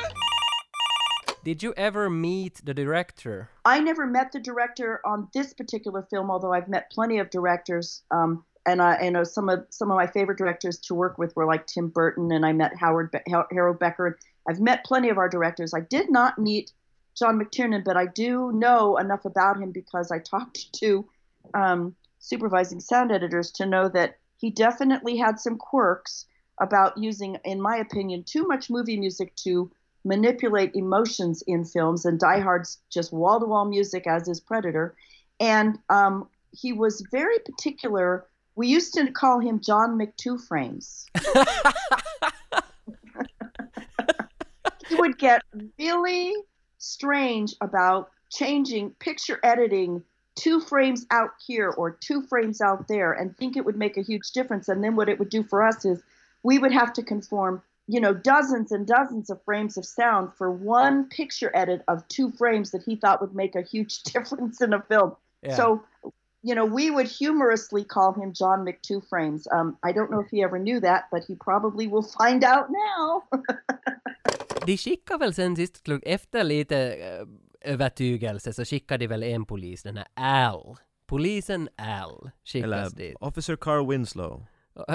Did you ever meet the director? I never met the director on this particular film, although I've met plenty of directors. Um, and I, I know some of some of my favorite directors to work with were like Tim Burton, and I met Howard Be- Har- Harold Becker. I've met plenty of our directors. I did not meet John McTiernan, but I do know enough about him because I talked to um, supervising sound editors to know that he definitely had some quirks about using, in my opinion, too much movie music to manipulate emotions in films, and Die Hard's just wall to wall music, as is Predator. And um, he was very particular. We used to call him John McTwo Frames. he would get really strange about changing picture editing two frames out here or two frames out there and think it would make a huge difference. And then what it would do for us is we would have to conform, you know, dozens and dozens of frames of sound for one picture edit of two frames that he thought would make a huge difference in a film. Yeah. So, you know, we would humorously call him John McTwo Frames. Um, I don't know if he ever knew that, but he probably will find out now. De skickade väl sen sist, klok- efter lite eh, övertygelse, så skickade de väl en polis, den här Al. Polisen Al skickas Eller dit. Officer Carl Winslow.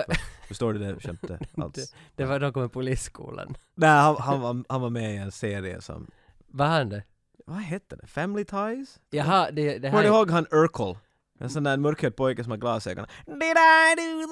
Förstår du det skämtet alls? det var de kom i polisskolan. Nej, han, han, var, han var med i en serie som... Vad han det? Vad hette det? Family Ties? Jaha, det, det här... Kommer du ihåg han Urkel? En sån där mörkhyad pojke som har glasögon. Did I do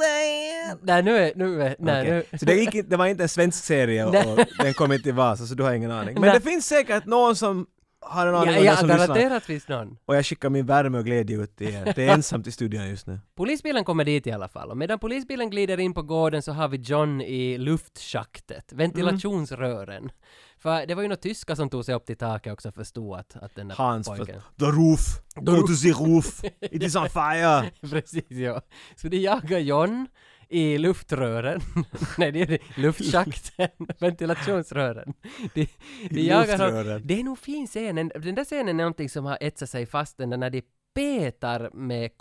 that? Nej, nu är... Nu är nej, Okej. nu... Så det, gick, inte- det var inte en svensk serie och, Nej. och den kom inte i Vasa så du har ingen aning. Men Nej. det finns säkert någon som har en aning Ja, om det ja, som lyssnar. garanterat finns någon. Och jag skickar min värme och glädje ut till er. Det är ensamt i studion just nu. Polisbilen kommer dit i alla fall och medan polisbilen glider in på gården så har vi John i luftschaktet, ventilationsrören. Mm. För det var ju några tyskar som tog sig upp till taket också och förstod att, att den där Hans först. pojken... The roof! Go to the roof! It is on fire! Precis, ja. Så de jagar John i luftrören. Nej, det är det. luftschakten, ventilationsrören. De, de I jagar honom. luftrören. Det är nog fin scenen. Den där scenen är någonting som har etsat sig fast den där när de petar med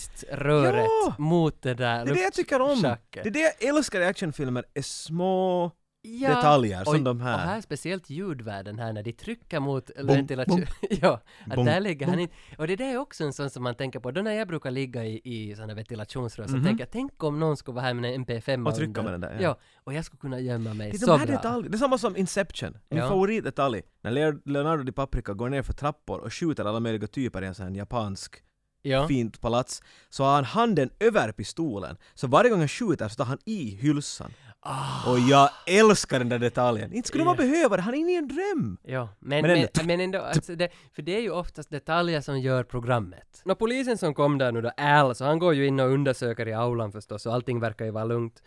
k-piströret Ja! mot det där Det är det jag tycker om! luftschaktet. Det är det jag älskar i actionfilmer, är små... Ja. detaljer, som de här. Och här speciellt ljudvärden här när de trycker mot Bom, ventilation. bom. ja, att Bom, där ligger han bom. inte. Och det där är också en sån som man tänker på. Då när jag brukar ligga i, i sådana ventilationsrör så tänker jag, tänk om någon skulle vara här med en MP5 Mhm. Och trycka med den där, Ja. ja. och jag skulle kunna gömma mig Det är så de här bra. detaljerna. Det är samma som Inception. Min Ja. favoritdetalj. När Leo- Leonardo DiCaprio går ner för trappor och skjuter alla möjliga typer i en sån här japansk Ja. fint palats så har han handen över pistolen. Så varje gång han skjuter så tar han i hylsan. Ah. Och jag älskar den där detaljen. Inte skulle man behöva det, han är inne i en dröm. Ja, men, Men men, ändå- men, ändå, alltså det, för det är ju oftast detaljer som gör programmet. Nå, polisen som kom där nu då, Al, så han går ju in och undersöker i aulan förstås, och allting verkar ju vara lugnt.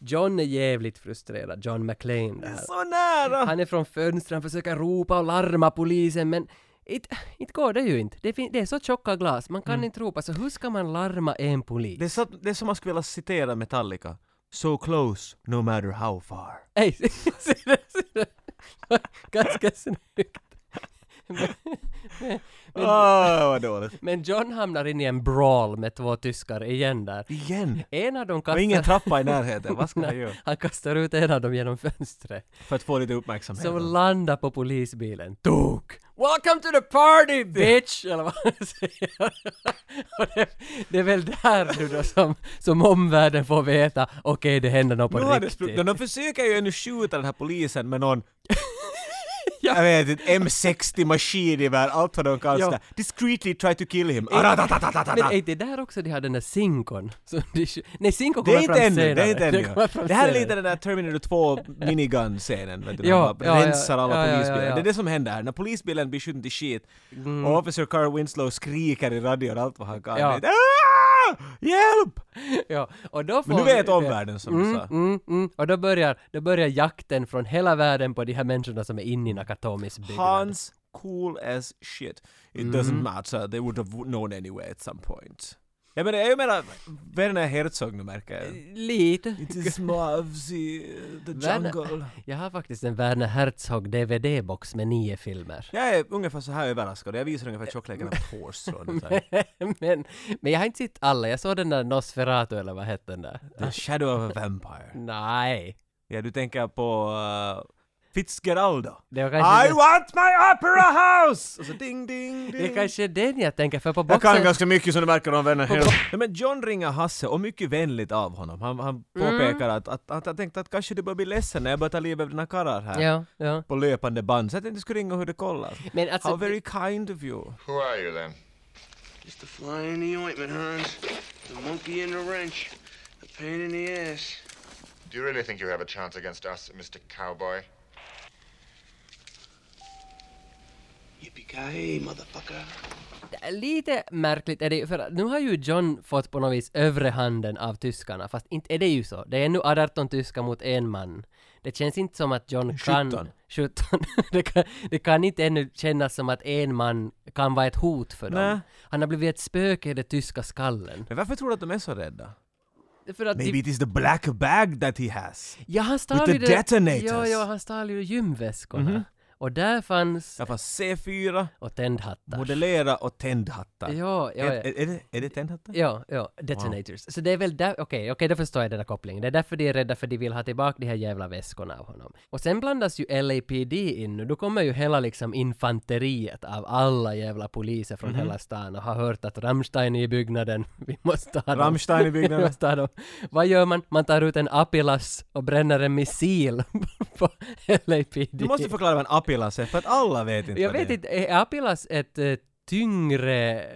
John är jävligt frustrerad, John McClane där. Så nära! Han är från fönstren, han försöker ropa och larma polisen, men inte it går det ju inte. Det, fin- det är så tjocka glas, man kan inte ropa, så hur ska man larma en polis? Mm. Det är, så, det är som man skulle vilja citera Metallica. So close, no matter how far. Hej! ser du- ser du? Ganska snyggt. Men, men, Åh, Ah, vad dåligt. men John hamnar in i en brawl med två tyskar igen där. Igen! En av dem kastar... Och ingen trappa i närheten, vad ska jag göra? Han kastar ut en av dem genom fönstret. För att få lite uppmärksamhet. Som landar på polisbilen. Tok! Welcome to the party bitch! Eller vad han säger. Och det, det är väl där nu då som, som omvärlden får veta, okej det händer något på nu har det riktigt. spruckit. De- De försöker ju ännu skjuta den här polisen med någon... Ja. Jag vet inte, M60 maskingevär, allt vad de kan Ja. sådär. Discreetly try to kill him. Ah, Men Aratatatata. är det där också de har den där sinkon? Som de, kö- nej, sinkon Det är kommer fram inte ännu, senare. det är inte kommer ännu. fram Det här är senare. lite den där Terminator 2 minigun-scenen. vet du, Ja, när han bara ja, ja, rensar alla ja, ja, ja, polisbilar. ja. Mm. Det är det som händer här. När polisbilen blir skjuten till shit och Officer Carl Winslow skriker i radion allt vad han kan. Ja. Det är, "Ah! Hjälp! Ja, och då får Men nu vi- vet omvärlden, som du mm, sa. Mm, mm. Och då börjar, då börjar jakten från hela världen på de här människorna som är inne i Nakatomis byggnad. Hans cool as shit. It doesn't matter, they would have known anyway at some point. Jag menar, jag menar Werner Herzog nu märker jag. Lite. Eh, It is more of the, the Werner- jungle. Jag har faktiskt en Werner Herzog DVD-box med nio filmer. Jag är ungefär så här överraskad, jag visar ungefär tjockleken av ett hårstrå. nu så här. men, men jag har inte sett alla. Jag såg den där Nosferatu eller vad hette den där? The shadow of a vampire. Nej. Ja, du tänker på uh, Fitzgeraldo. Det var kanske I want my opera house! Och så ding, ding, det, det ding. kanske är den jag tänker för på Jag boxen... kan ganska mycket som du märker om Werner Herzog. Nej, men John ringer Hasse och mycket vänligt av honom. Han, han Mm. påpekar att, att, att han tänkte att kanske du börjar bli ledsen när jag börjar ta livet av dina karlar här. Ja, ja. På löpande band. Så jag tänkte du skulle ringa hur det kollar. Men alltså- How very kind of you. Who are you then? Just a fly in the ointment, Hans. The monkey in the wrench. The pain in the ass. Do you really think you have a chance against us, Mr. Cowboy? Yippee-ki-yay, motherfucker. Lite märkligt är det ju, för att nu har ju John fått på något vis övre handen av tyskarna, fast inte är det ju så. Det är nu 18 tyskar mot en man. Det känns inte som att John kan... 17. 17. det, kan, det kan inte ännu kännas som att en man kan vara ett hot för dem. Nä. Han har blivit ett spöke i den tyska skallen. Men varför tror du att de är så rädda? För att Maybe de, it is the black bag that he has. ja, han stal with ju the det- detonators. Mhm. Ja, ja, han stal ju gymväskorna. Och där fanns... Jag får C4, Och tändhattar. modellera och tändhattar. Ja, ja, ja. Är, är, är, det, är det tändhattar? Ja, ja, detonators. Så det är väl där, okej, okej, då förstår jag den här kopplingen. Det är därför de är rädda, för de vill ha tillbaka de här jävla väskorna av honom. Och sen blandas ju LAPD in nu, då kommer ju hela liksom infanteriet av alla jävla poliser Mhm. från hela stan och har hört att Rammstein är i byggnaden, vi måste ha dem. Rammstein i byggnaden. Vi måste ha dem. Vad gör man? Man tar ut en Apilas och bränner en missil på LAPD. Du måste förklara vad en apilas är, för att alla vet inte jag vad det vet är. inte, är Apilas ett eh, tyngre...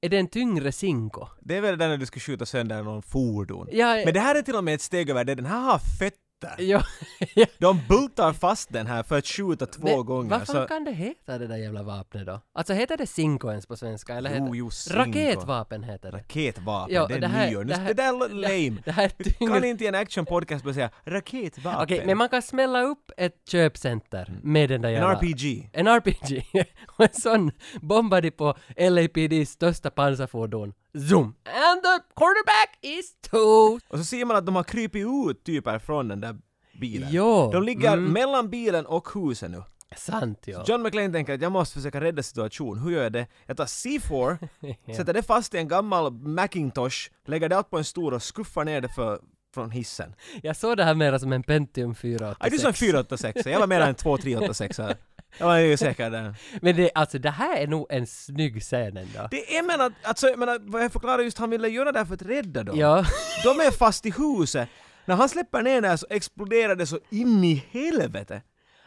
Är det en tyngre sinko? Det är väl det där när du ska skjuta sönder någon fordon. Ja, Men det här är till och med ett steg över det, den här har fötter. Ja, ja. De bultar fast den här för att skjuta två Men gånger. Vad fan Så, kan det heta det där jävla vapnet då? Alltså heter det Zinko ens på svenska? Eller Jo, heter jo, Zinko. Raketvapen heter det. raketvapen, Ja, det är det här- nyår. det Det, här- det där låter lame. Det här är Kan tyngre... inte i en actionpodcast bara säga raketvapen? Mm. Okej, men man kan smälla upp ett köpcenter med den där En jävla... RPG. En RPG. och en sån bombade på LAPDs största pansarfordon. Zoom! And the quarterback is two! Och så ser man att de har krypit ut typer från den där bilen. Jo, De ligger mm. mellan bilen och husen nu. Sant ja. John McClane tänker att jag måste försöka rädda situationen. Hur gör jag det? Jag tar C4, sätter det fast i en gammal Macintosh, lägger det allt på en stor och skuffar ner det för, från hissen. Jag såg det här mera som en Pentium 486. Aj, du sa en 486, jag var mer en 2386 här. Jag var ju säker där. Men det, alltså det här är nog en snygg scen ändå. Det är men att, alltså, jag menar, vad jag förklarar just, han ville göra det här för att rädda dem. Ja. De är fast i huset. När han släpper ner det här så exploderar det så in i helvete.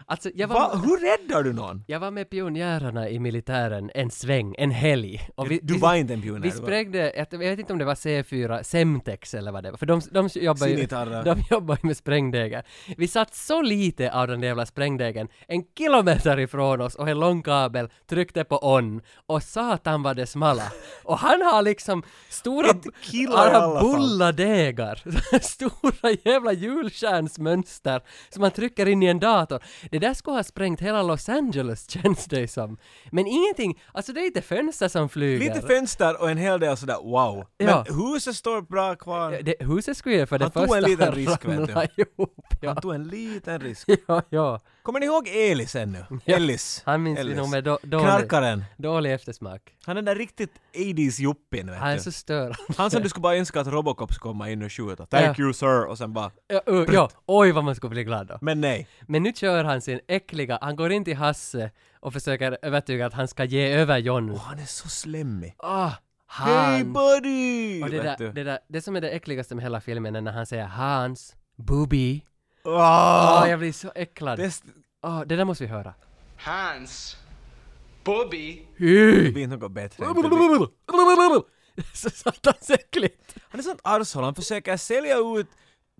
Alltså, jag Va? Hur räddar du någon? Jag var med pionjärerna i militären en sväng, en helg. Och Du var inte en pionjär, Vi du var- sprängde, jag, jag vet inte om det var C4, Semtex eller vad det var, för de, de jobbar ju Sinitarra. de jobbar ju med sprängdägar. Vi satt så lite av den där jävla sprängdägen, en kilometer ifrån oss och en lång kabel tryckte på on och satan vad det smalla. Och han har liksom stora, Ett kilo i alla fall. bulla degar, stora jävla julstjärnsmönster som man trycker in i en dator. Det där skulle ha sprängt hela Los Angeles känns det som. Men ingenting, alltså det är inte fönster som flyger. Lite fönster och en hel del sådär wow. Men Ja. huset står bra kvar. Eh, det, huset skulle ju för det Han första tog en liten risk ramla vet du. ihop. Ja. Han tog en liten risk. ja, ja. Kommer ni ihåg Elis ännu? Ja, Ellis. Han minns vi Ellis. nog med då, dålig, Knarkaren. dålig eftersmak. Han är den där riktigt 80s juppin vet Han är du. så störande. Han som du skulle bara önska att Robocop skulle komma in och skjuta. Thank Ja. you sir och sen bara... Ja, ö, ja, oj vad man skulle bli glad då. Men nej. Men nu kör han sin äckliga, han går in till Hasse och försöker övertyga att han ska ge över John. Och han är så slemmig. Ah, Hey han. buddy! och det, vet där, du. det, där, det som är det äckligaste med hela filmen är när han säger Hans, Bubi. Ah! Ah, jag blir så äcklad. Det är Det, st- det där måste vi höra. Hans. Bobby. det blir något bättre. än Bubi. så satans äckligt. Han är sånt arshåll, han försöker sälja ut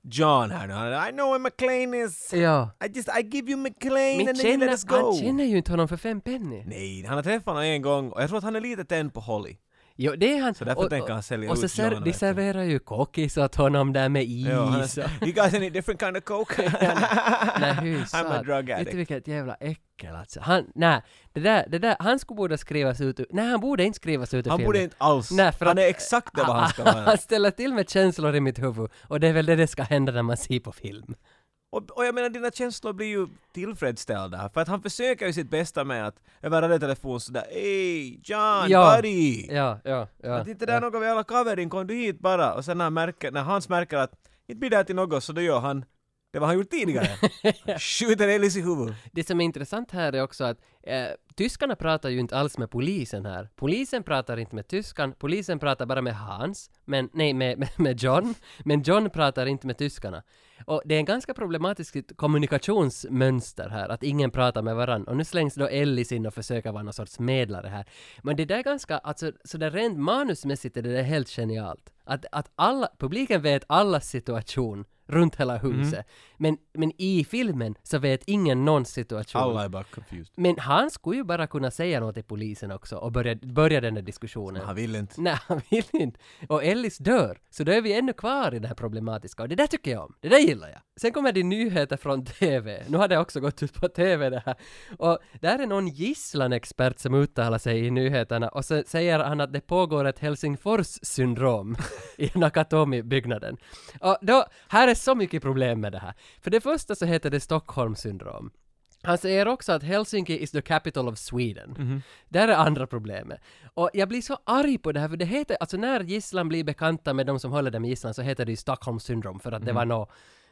John här nu. Han är I know where McLean is. Ja. I just, I give you McLean Men and then you let us känner, go. han känner ju inte honom för fem penny. Nej, han har träffat honom en gång och jag tror att han är lite tänd på Holly. Jo, det är han. Så därför tänker han sälja och så ut ser, John, de vet du. serverar ju kokis åt honom där med is. Ja, han och- är, you guys any different kind of coke? Nej, hur I'm a sad. drug Vet du addict. vilket jävla äckel alltså. Han, nej, det där, det där, han skulle borde skrivas ut ur, nej han borde inte skrivas ut ur Han filmen. borde inte alls. Nej, för han att- är exakt det vad han ska vara. Han ställer till med känslor i mitt huvud och det är väl det det ska hända när man ser på film. Och, och jag menar dina känslor blir ju tillfredsställda. För att han försöker ju sitt bästa med att över radiotelefon sådär Ey John, Ja. buddy! Ja, ja, ja. Att inte det är något vi alla kaverin, kom du hit bara. Och sen när, han märker, när Hans märker att inte blir det här till något så då gör han det vad han gjort tidigare. Han Skjuter Ellis i huvudet. Det som är intressant här är också att eh, tyskarna pratar ju inte alls med polisen här. Polisen pratar inte med tyskan, polisen pratar bara med Hans, men nej, med, med, med John, men John pratar inte med tyskarna. Och det är en ganska problematiskt kommunikationsmönster här, att ingen pratar med varandra. Och nu slängs då Ellis in och försöker vara någon sorts medlare här. Men det där är ganska, alltså, så där rent manusmässigt är det där helt genialt. Att, att alla, publiken vet allas situation runt hela huset. Mm. Men, men i filmen så vet ingen någons situation. Alla är bara confused. Men han skulle ju bara kunna säga något till polisen också och börja, börja den där diskussionen. Han vill inte. Nej, han vill inte. Och Ellis dör. Så då är vi ännu kvar i det här problematiska. Och det där tycker jag om. Det där gillar jag. Sen kommer det nyheter från TV. Nu har det också gått ut på TV det här. Och där är någon gisslanexpert som uttalar sig i nyheterna och så säger han att det pågår ett Helsingfors-syndrom i Nakatomi-byggnaden. Och då, här är så mycket problem med det här. För det första så heter det Stockholm-syndrom. Han säger också att Helsinki is the capital of Sweden. Mhm. Där är andra problemet. Och jag blir så arg på det här, för det heter, alltså när gisslan blir bekanta med de som håller dem i gisslan så heter det ju Stockholm syndrom, för att det var nå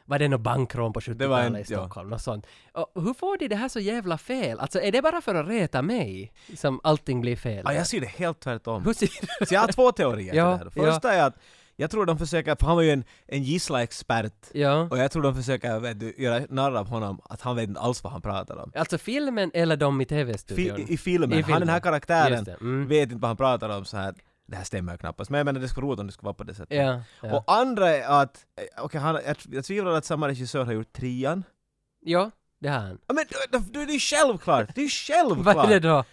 var det något bankrån på Mhm. Det var en- 70-talet i ja. Stockholm? Något sånt. Och hur får de det här så jävla fel? Alltså är det bara för att reta mig som allting blir fel? Ja, jag ser det helt tvärtom. Hur ser du? Så jag har två teorier till Ja, det här. Första är att jag tror de försöker, för han var ju en, en gissla-expert. Ja. Och jag tror de försöker vet du, göra narr av honom, att han vet inte alls vad han pratar om. Alltså filmen eller de i Fi- TV-studion? i, I filmen, I han den här filmen. karaktären Just det, mm. vet inte vad han pratar om så här. Det här stämmer ju knappast, men jag menar det skulle vara roligt om det skulle vara på det sättet. Ja, ja. Och andra är att, eh, okej han, jag, jag tvivlar att samma regissör har gjort trean. ja, det har han. Ja, Men det, det, det är ju självklart! Det är ju självklart! Vad är det då?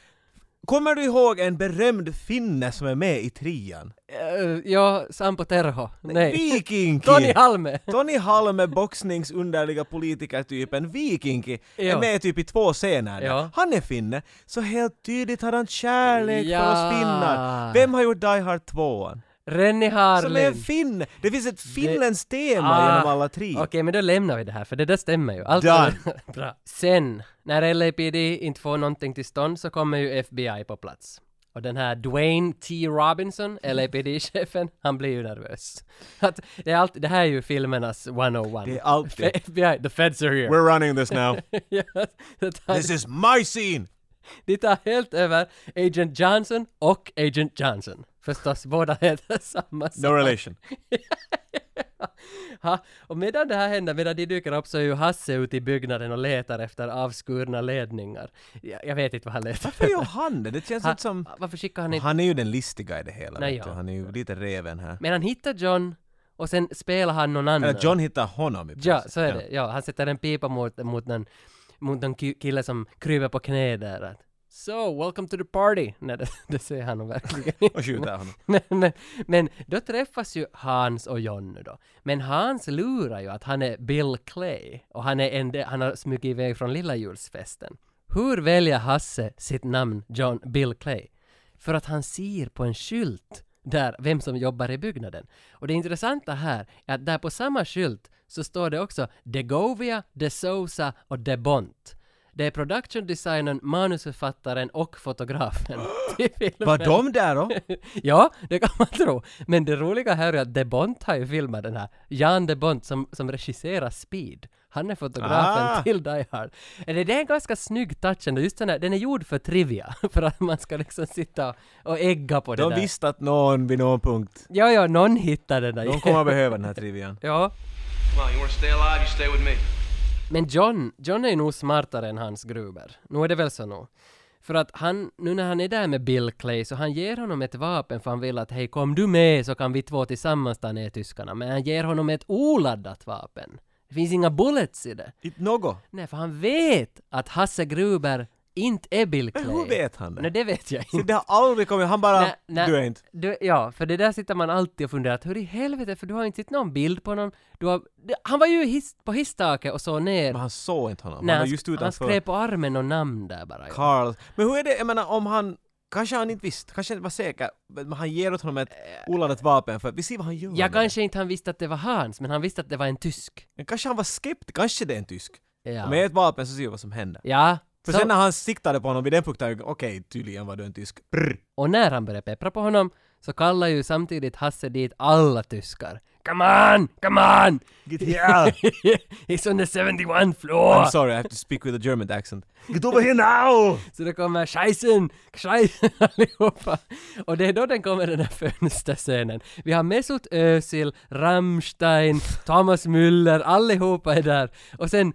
Kommer du ihåg en berömd finne som är med i trean? Eh, ja, Sampo Terho. Nej. Vikinki! Tony Halme! Tony Halme, boxningsunderliga politikertypen Vikinki, är Ja. med typ i två scener. där. Ja. Han är finne, så helt tydligt har han kärlek för Ja. oss finnar. Vem har gjort Die Hard 2? Rennie Som är en Harling! finne! Det finns ett finländskt tema Ah, genom alla tre. Okej, men då lämnar vi det här, för det där stämmer ju. Allt Done. Bra. Sen, när LAPD inte får någonting till stånd så kommer ju FBI på plats. Och den här Dwayne T. Robinson, LAPD-chefen, han blir ju nervös. Att det, är allt, det här är ju filmernas 101. Det är alltid- FBI, the feds are here. We're running this now. Ja, så att han- This is my scene! de tar helt över Agent Johnson och Agent Johnson. Förstås, båda heter samma sak. No relation. Ha, och medan det här händer, medan de dyker upp så är ju Hasse ute i byggnaden och letar efter avskurna ledningar. Jag, jag vet inte vad han letar Varför gör han det? Det känns inte som... Varför skickar han inte... Han är ju den listiga i det hela. Nej, vet du. ja. Han är ju lite reven här. Men han hittar John och sen spelar han någon annan. Eller Äh, John hittar honom i Ja, princip. så är det. Ja, han sätter en pipa mot, mot någon, mot någon ki- kille som kryper på knä där. Att, so, welcome to the party! Nej, det, det säger han nog verkligen inte. Och skjuter honom. Men, men, men då träffas ju Hans och John nu då. Men Hans lurar ju att han är Bill Clay och han, är en, del- han har smugit iväg från lilla julsfesten. Hur väljer Hasse sitt namn John Bill Clay? För att han ser på en skylt där vem som jobbar i byggnaden. Och det intressanta här är att där på samma skylt så står det också Degovia, De Sousa och De Bont. Det är production designern, manusförfattaren och fotografen till filmen. Var de där då? Ja, det kan man tro. Men det roliga här är att De Bont har ju filmat den här. Jan De Bont som, som regisserar Speed. Han är fotografen Ah. till Die Hard. Det det är en ganska snygg touch ändå. Just den här, den är gjord för trivia. För att man ska liksom sitta och ägga på det De där. visste att någon vid någon punkt, Ja, ja, någon hittade den där. någon kommer att behöva den här trivian. Ja. Come on, you want to stay alive? You stay with me. Men John, John är ju nog smartare än Hans Gruber. Nu är det väl så nog. För att han, nu när han är där med Bill Clay så han ger honom ett vapen för han vill att hej kom du med så kan vi två tillsammans ta ner tyskarna. Men han ger honom ett oladdat vapen. Det finns inga bullets i det. Inte något. Nej, för han vet att Hasse Gruber inte är Bill Clay. Hur vet han det? Nej, det vet jag inte. Så det har aldrig kommit, han bara, Nej, nej. du är inte. Du, ja, för det där sitter man alltid och funderar att hur i helvete, för du har inte sett någon bild på någon. Du har, det- han var ju his, på hisstaket och så ner. Men han såg inte honom. Nej, han var sk- just han utanför. skrev på armen och namn där bara. ja. Carl. Men hur är det, jag menar om han, kanske han inte visste, kanske inte var säker, men han ger åt honom ett oladdat vapen för vi ser vad han gör. Jag med Eh, kanske inte han visste att det var hans, men han visste att det var en tysk. det. Men kanske han var skeptisk, kanske det är en tysk. Ja. Och med ett vapen så ser vi vad som händer. ja. För så- sen när han siktade på honom vid den punkten, jag- okej tydligen var du en tysk. Brr. Och när han börjar peppra på honom så kallar ju samtidigt Hasse dit alla tyskar. Come on, come on! Get here! He's on the 71 I'm floor! sorry, I have to speak with a German accent. Get over here now! Så det kommer scheisen, scheisen allihopa. Och det är då den kommer den här fönsterscenen. Vi har Mesut Özil, Rammstein, Thomas Müller, allihopa är där. Och sen...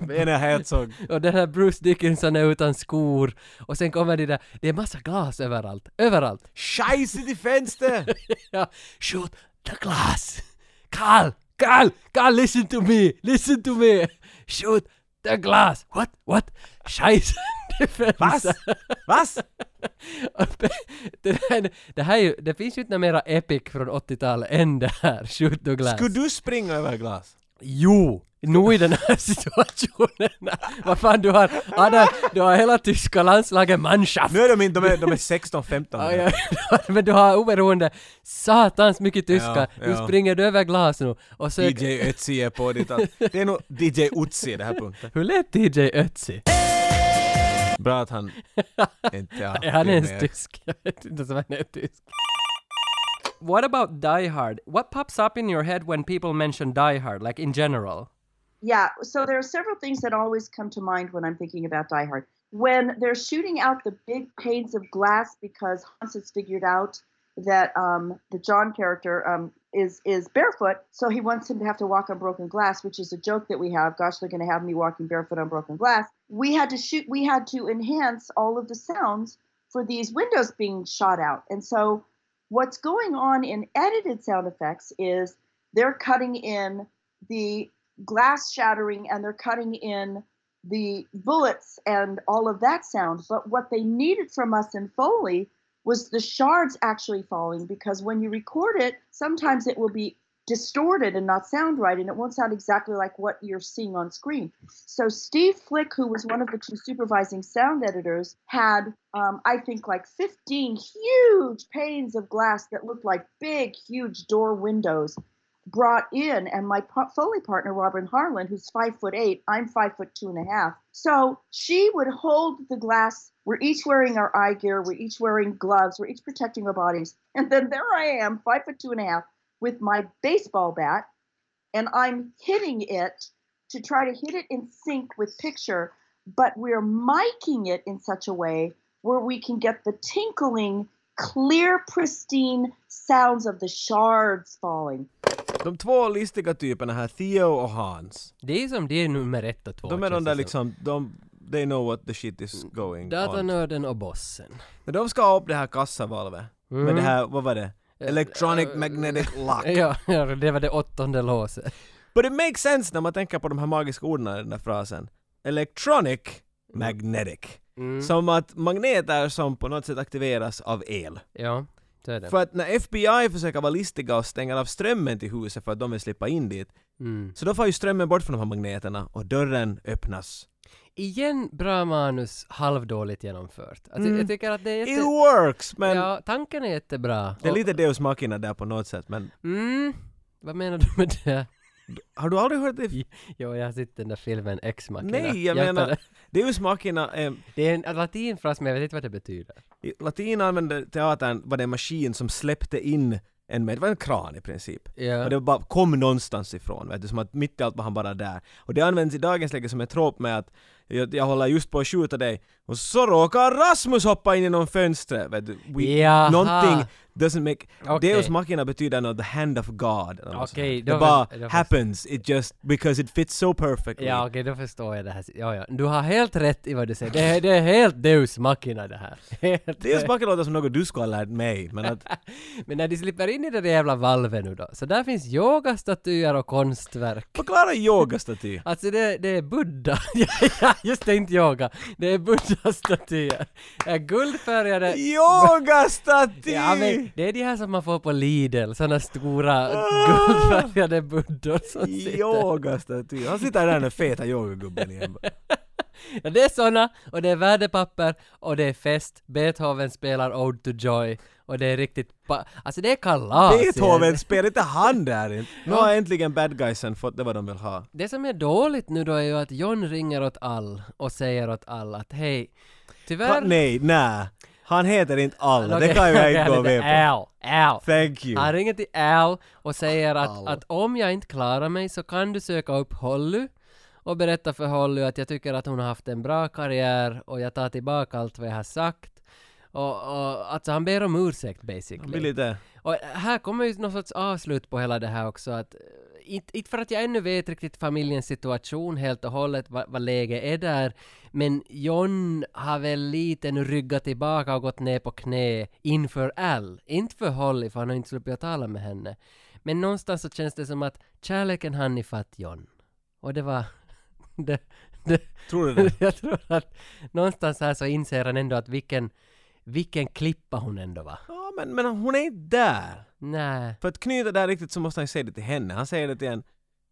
Bene Herzog. Och den här Bruce Dickinson är utan skor. Och sen kommer det där, det är massa glas överallt. Överallt. Scheiße i fönster! ja, shoot the glass! Carl! Carl! Carl listen to me! Listen to me! Shoot the glass! What? What? Scheiße! Det finns- Was? Was? det, här, det här är ju, det finns ju inte något mera epic från 80-talet än det här, shoot the glass. Skulle du springa över glas? Jo! Nu i den här situationen. Vad fan du har, Adam, du har hela tyska landslaget Mannschaft. Nu är de inte, de är, de är 16, 15. Ja, ja. Men du har oberoende satans mycket tyska. Ja, Nu ja. springer du över glas nu och söker... DJ Ötzi är på ditt allt. Det är nog DJ Utzi i det här punkten. Hur lät DJ Ötzi? Bra att han inte är han ens tysk? Jag vet inte som han är tysk. What about Die Hard? What pops up in your head when people mention Die Hard, like in general? Yeah, so there are several things that always come to mind when I'm thinking about Die Hard. When they're shooting out the big panes of glass because Hans has figured out that um, the John character um, is is barefoot, so he wants him to have to walk on broken glass, which is a joke that we have. Gosh, they're going to have me walking barefoot on broken glass. We had to shoot. We had to enhance all of the sounds for these windows being shot out, and so what's going on in edited sound effects is they're cutting in the glass shattering and they're cutting in the bullets and all of that sound. But what they needed from us in Foley was the shards actually falling because when you record it, sometimes it will be distorted and not sound right and it won't sound exactly like what you're seeing on screen. So Steve Flick, who was one of the two supervising sound editors, had um, I think like 15 huge panes of glass that looked like big, huge door windows brought in and my po- foley partner robin harlan who's five foot eight i'm five foot two and a half so she would hold the glass we're each wearing our eye gear we're each wearing gloves we're each protecting our bodies and then there i am five foot two and a half with my baseball bat and i'm hitting it to try to hit it in sync with picture but we're miking it in such a way where we can get the tinkling clear pristine sounds of the shards falling De två listiga typerna här, Theo och Hans. Det är som de är nummer ett och två. De är de känns det där som. liksom, de, they know what the shit is going on. Datanörden och bossen. Men de ska ha upp det här kassavalvet. Med Mm. det här, vad var det? Electronic Eh, magnetic lock. ja, ja, det var det åttonde låset. But it makes sense när man tänker på de här magiska orden i den där frasen. Electronic magnetic. Mm. Som att magneter som på något sätt aktiveras av el. Ja, så är det. För att när FBI försöker vara listiga och stänger av strömmen till huset för att de vill slippa in dit, Mm. så då får ju strömmen bort från de här magneterna och dörren öppnas. Igen bra manus, halvdåligt genomfört. Alltså, Mm. Jag tycker att det är It jätte... works! Men Ja, tanken är jättebra. det är Och- lite Deus Machina där på något sätt, men Mm, vad menar du med det? har du aldrig hört det? Jo, jag har sett den där filmen Ex Machina. Nej, jag Hjälper menar, det? Deus Machina är Det är en latinfras, men jag vet inte vad det betyder. I latin använde teatern var det en maskin som släppte in en med, det var en kran i princip. Ja. Och det bara kom någonstans ifrån, vet du, som att mitt i allt var han bara där. Och det används i dagens läge som ett trop med att jag, jag håller just på att skjuta dig och så råkar Rasmus hoppa in genom fönstret, vet du. We, Jaha. Någonting doesn't make... Okej. Deus machina betyder något the hand of God. eller något sånt här. Okej, det då bara först- då först- happens, it just because it fits so perfectly. Ja, okej, då förstår jag det här. Ja, ja. Du har helt rätt i vad du säger. Det är, det är helt Deus Machina det här. Helt Deus machina låter som något du skulle ha lärt mig, men att... Men när de slipper in i det där jävla valvet nu då, så där finns yogastatyer och konstverk. Förklara yogastaty! Alltså det, det är Buddha. Ja, ja, Just det, inte yoga. Det är Buddha-statyer. Eh, Guldfärgade... Yogastaty! Ja, men det är de här som man får på Lidl, såna stora Ah! guldfärgade buddor som sitter. Yogastaty. Han sitter där den där feta yogagubben igen. Ja, det är såna, och det är värdepapper, och det är fest, Beethoven spelar Ode to Joy, och det är riktigt pa- Alltså det är kalas! igen. Beethoven spelar inte han där inte. Nu har äntligen bad guysen fått det vad de vill ha. Det som är dåligt nu då är ju att John ringer åt all och säger åt all att hej, Va, tyvärr... nej, nä. Han heter inte alla, det Okej, kan jag okej, inte gå han heter med på. Al, Al. Thank you. Han ringer till Al och säger att, Al. att om jag inte klarar mig så kan du söka upp Holly och berätta för Holly att jag tycker att hon har haft en bra karriär och jag tar tillbaka allt vad jag har sagt. Och, och alltså han ber om ursäkt Han blir basically. lite... Och eh, här kommer ju någon sorts avslut på hela det här också att eh, inte, inte för att jag ännu vet riktigt familjens situation helt och hållet, vad, vad läget är där, men John har väl lite nu ryggat tillbaka och gått ner på knä inför Al, inte för Holly, för han har inte sluppit att tala med henne. Men någonstans så känns det som att kärleken hann ifatt John. Och det var... Det, det, Tror du det? jag tror att någonstans här så inser han ändå att vilken, vilken klippa hon ändå var. Ja, men, men hon är inte där. Nej. För att knyta där riktigt så måste han ju säga det till henne. Han säger det till en,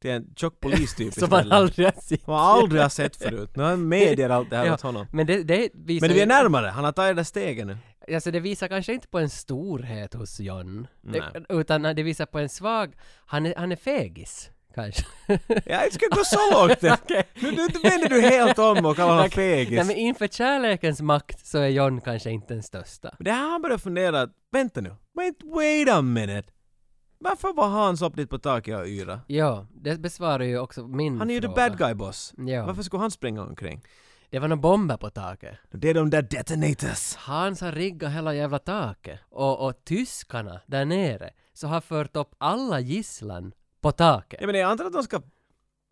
till en tjock polistyp Som man istället. aldrig har sett. Som han aldrig har sett förut. Nu har han medier allt det här Ja, åt honom. Men det, det visar Men vi är ju- närmare, han har tagit det där steget nu. Alltså det visar kanske inte på en storhet hos John. Nej. Det, utan det visar på en svag... Han är, han är fegis. Kanske. Ja, jag ska gå så långt! Nu, nu vänder du helt om och kallar honom Okej. Nej fegis. men inför kärlekens makt så är John kanske inte den största. Det här har han börjat fundera att, vänta nu, wait, wait a minute. Varför var Hans upp dit på taket och yra? Ja, det besvarar ju också min Han är ju the fråga. bad guy boss. Ja. Varför skulle han springa omkring? Det var några bomber på taket. Det är de där detonators. Hans har riggat hela jävla taket. Och, och tyskarna där nere så har fört upp alla gisslan på taket. Jag menar, jag antar att de ska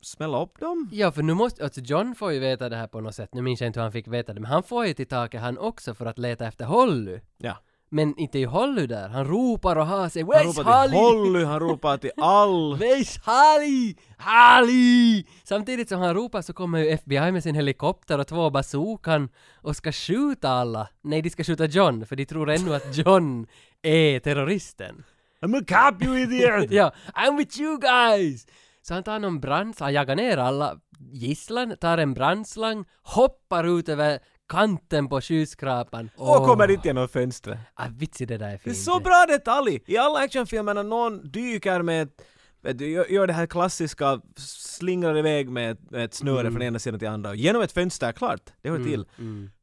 smälla upp dem? Ja, för nu måste, alltså John får ju veta det här på något sätt. Nu minns jag inte hur han fick veta det, men han får ju till taket han också för att leta efter Holly. Ja. Men inte är ju Holly där. Han ropar och har sig. Han Where's ropar till Holly? Holly, han ropar till all. Where's Holly? Holly! Samtidigt som han ropar så kommer ju FBI med sin helikopter och två bazookan och ska skjuta alla. Nej, de ska skjuta John, för de tror ännu att John är terroristen. I'm a cop you idiot! ja, I'm with you guys! Så han tar någon brandslang, han jagar ner alla gisslan, tar en brandslang, hoppar ut över kanten på skyskrapan. Och kommer Åh, inte genom fönstret. Ah, vitsi, det där är Det är fint. så bra detalj! I alla actionfilmer när någon dyker med ett vet du, gör- gör det här klassiska, slingrar iväg med ett, med ett snöre från ena sidan till andra, genom ett fönster, klart, det hör till.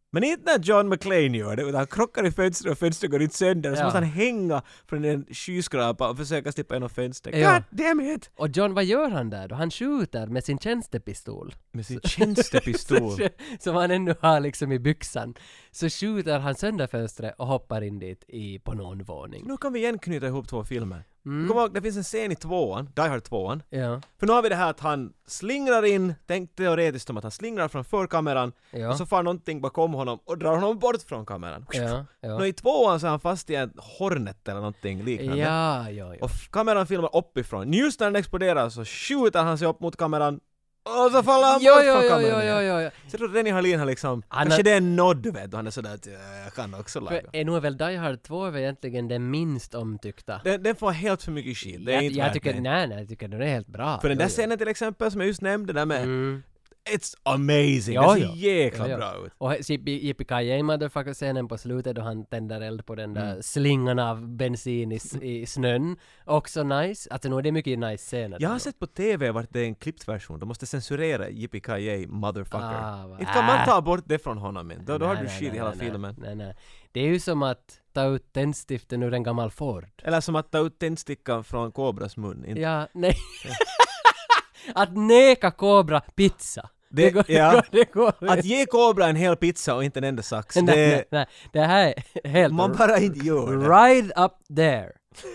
Men inte när John McClane gör det, utan han krockar i fönstret och fönstret går inte sönder, och så Ja. måste han hänga från en skyskrapa och försöka slippa genom fönstret. Ja. God damn it! Och John, vad gör han där då? Han skjuter med sin tjänstepistol. Med sin tjänstepistol. Som han ännu har liksom i byxan. Så skjuter han sönder fönstret och hoppar in dit i, på någon våning. nu kan vi igen knyta ihop två filmer. Mm. Kom ihåg, det finns en scen i tvåan, Die Hard tvåan. Ja. För nu har vi det här att han slingrar in, tänk teoretiskt om att han slingrar framför kameran, Ja. och så far någonting bakom honom och drar honom bort från kameran. Ja, ja. Nå, i tvåan så är han fast i en Hornet eller någonting liknande. Ja, ja, ja. Och f- kameran filmar uppifrån. Just när den exploderar så skjuter han sig upp mot kameran och så faller han Jo, bort jo, från jo, kameran jo, igen. jo, jo, jo. Så då Rennie Harlin har liksom, Han kanske har- det är en nod vet du, han är sådär att "Ja, jag kan också laga. För är nog väl Die Hard 2 är väl egentligen den minst omtyckta? Den, den får helt för mycket skit, det är jag, inte jag värt tycker, det. nej, nej, jag tycker den är helt bra. För den Jo, där jo. scenen till exempel som jag just nämnde, där med Mm. It's amazing, Ja, det ser ja. jäkla Ja, ja. bra ut. Och Yippee-Ki-Yay Motherfucker-scenen på slutet då han tänder eld på den där Mm. slingan av bensin i, s- i snön. Också nice. Alltså nog är det mycket nice scener. Jag har sett på TV vart det är en klippt version, de måste censurera Yippie Kaye motherfucker. Ah, va- inte kan man Ah. ta bort det från honom inte, då, då har Nej, du nej, skit i nej, hela nej, filmen. Nej, nej. Det är ju som att ta ut tändstiften ur en gammal Ford. Eller som att ta ut tändstickan från kobras mun. Inte. Ja, nej. att neka Cobra pizza. Det, går, ja. det går, det går. Att ge kobra en hel pizza och inte en enda sax, nej, det, nej, nej. det här är helt... man bara inte gör det. Right up there.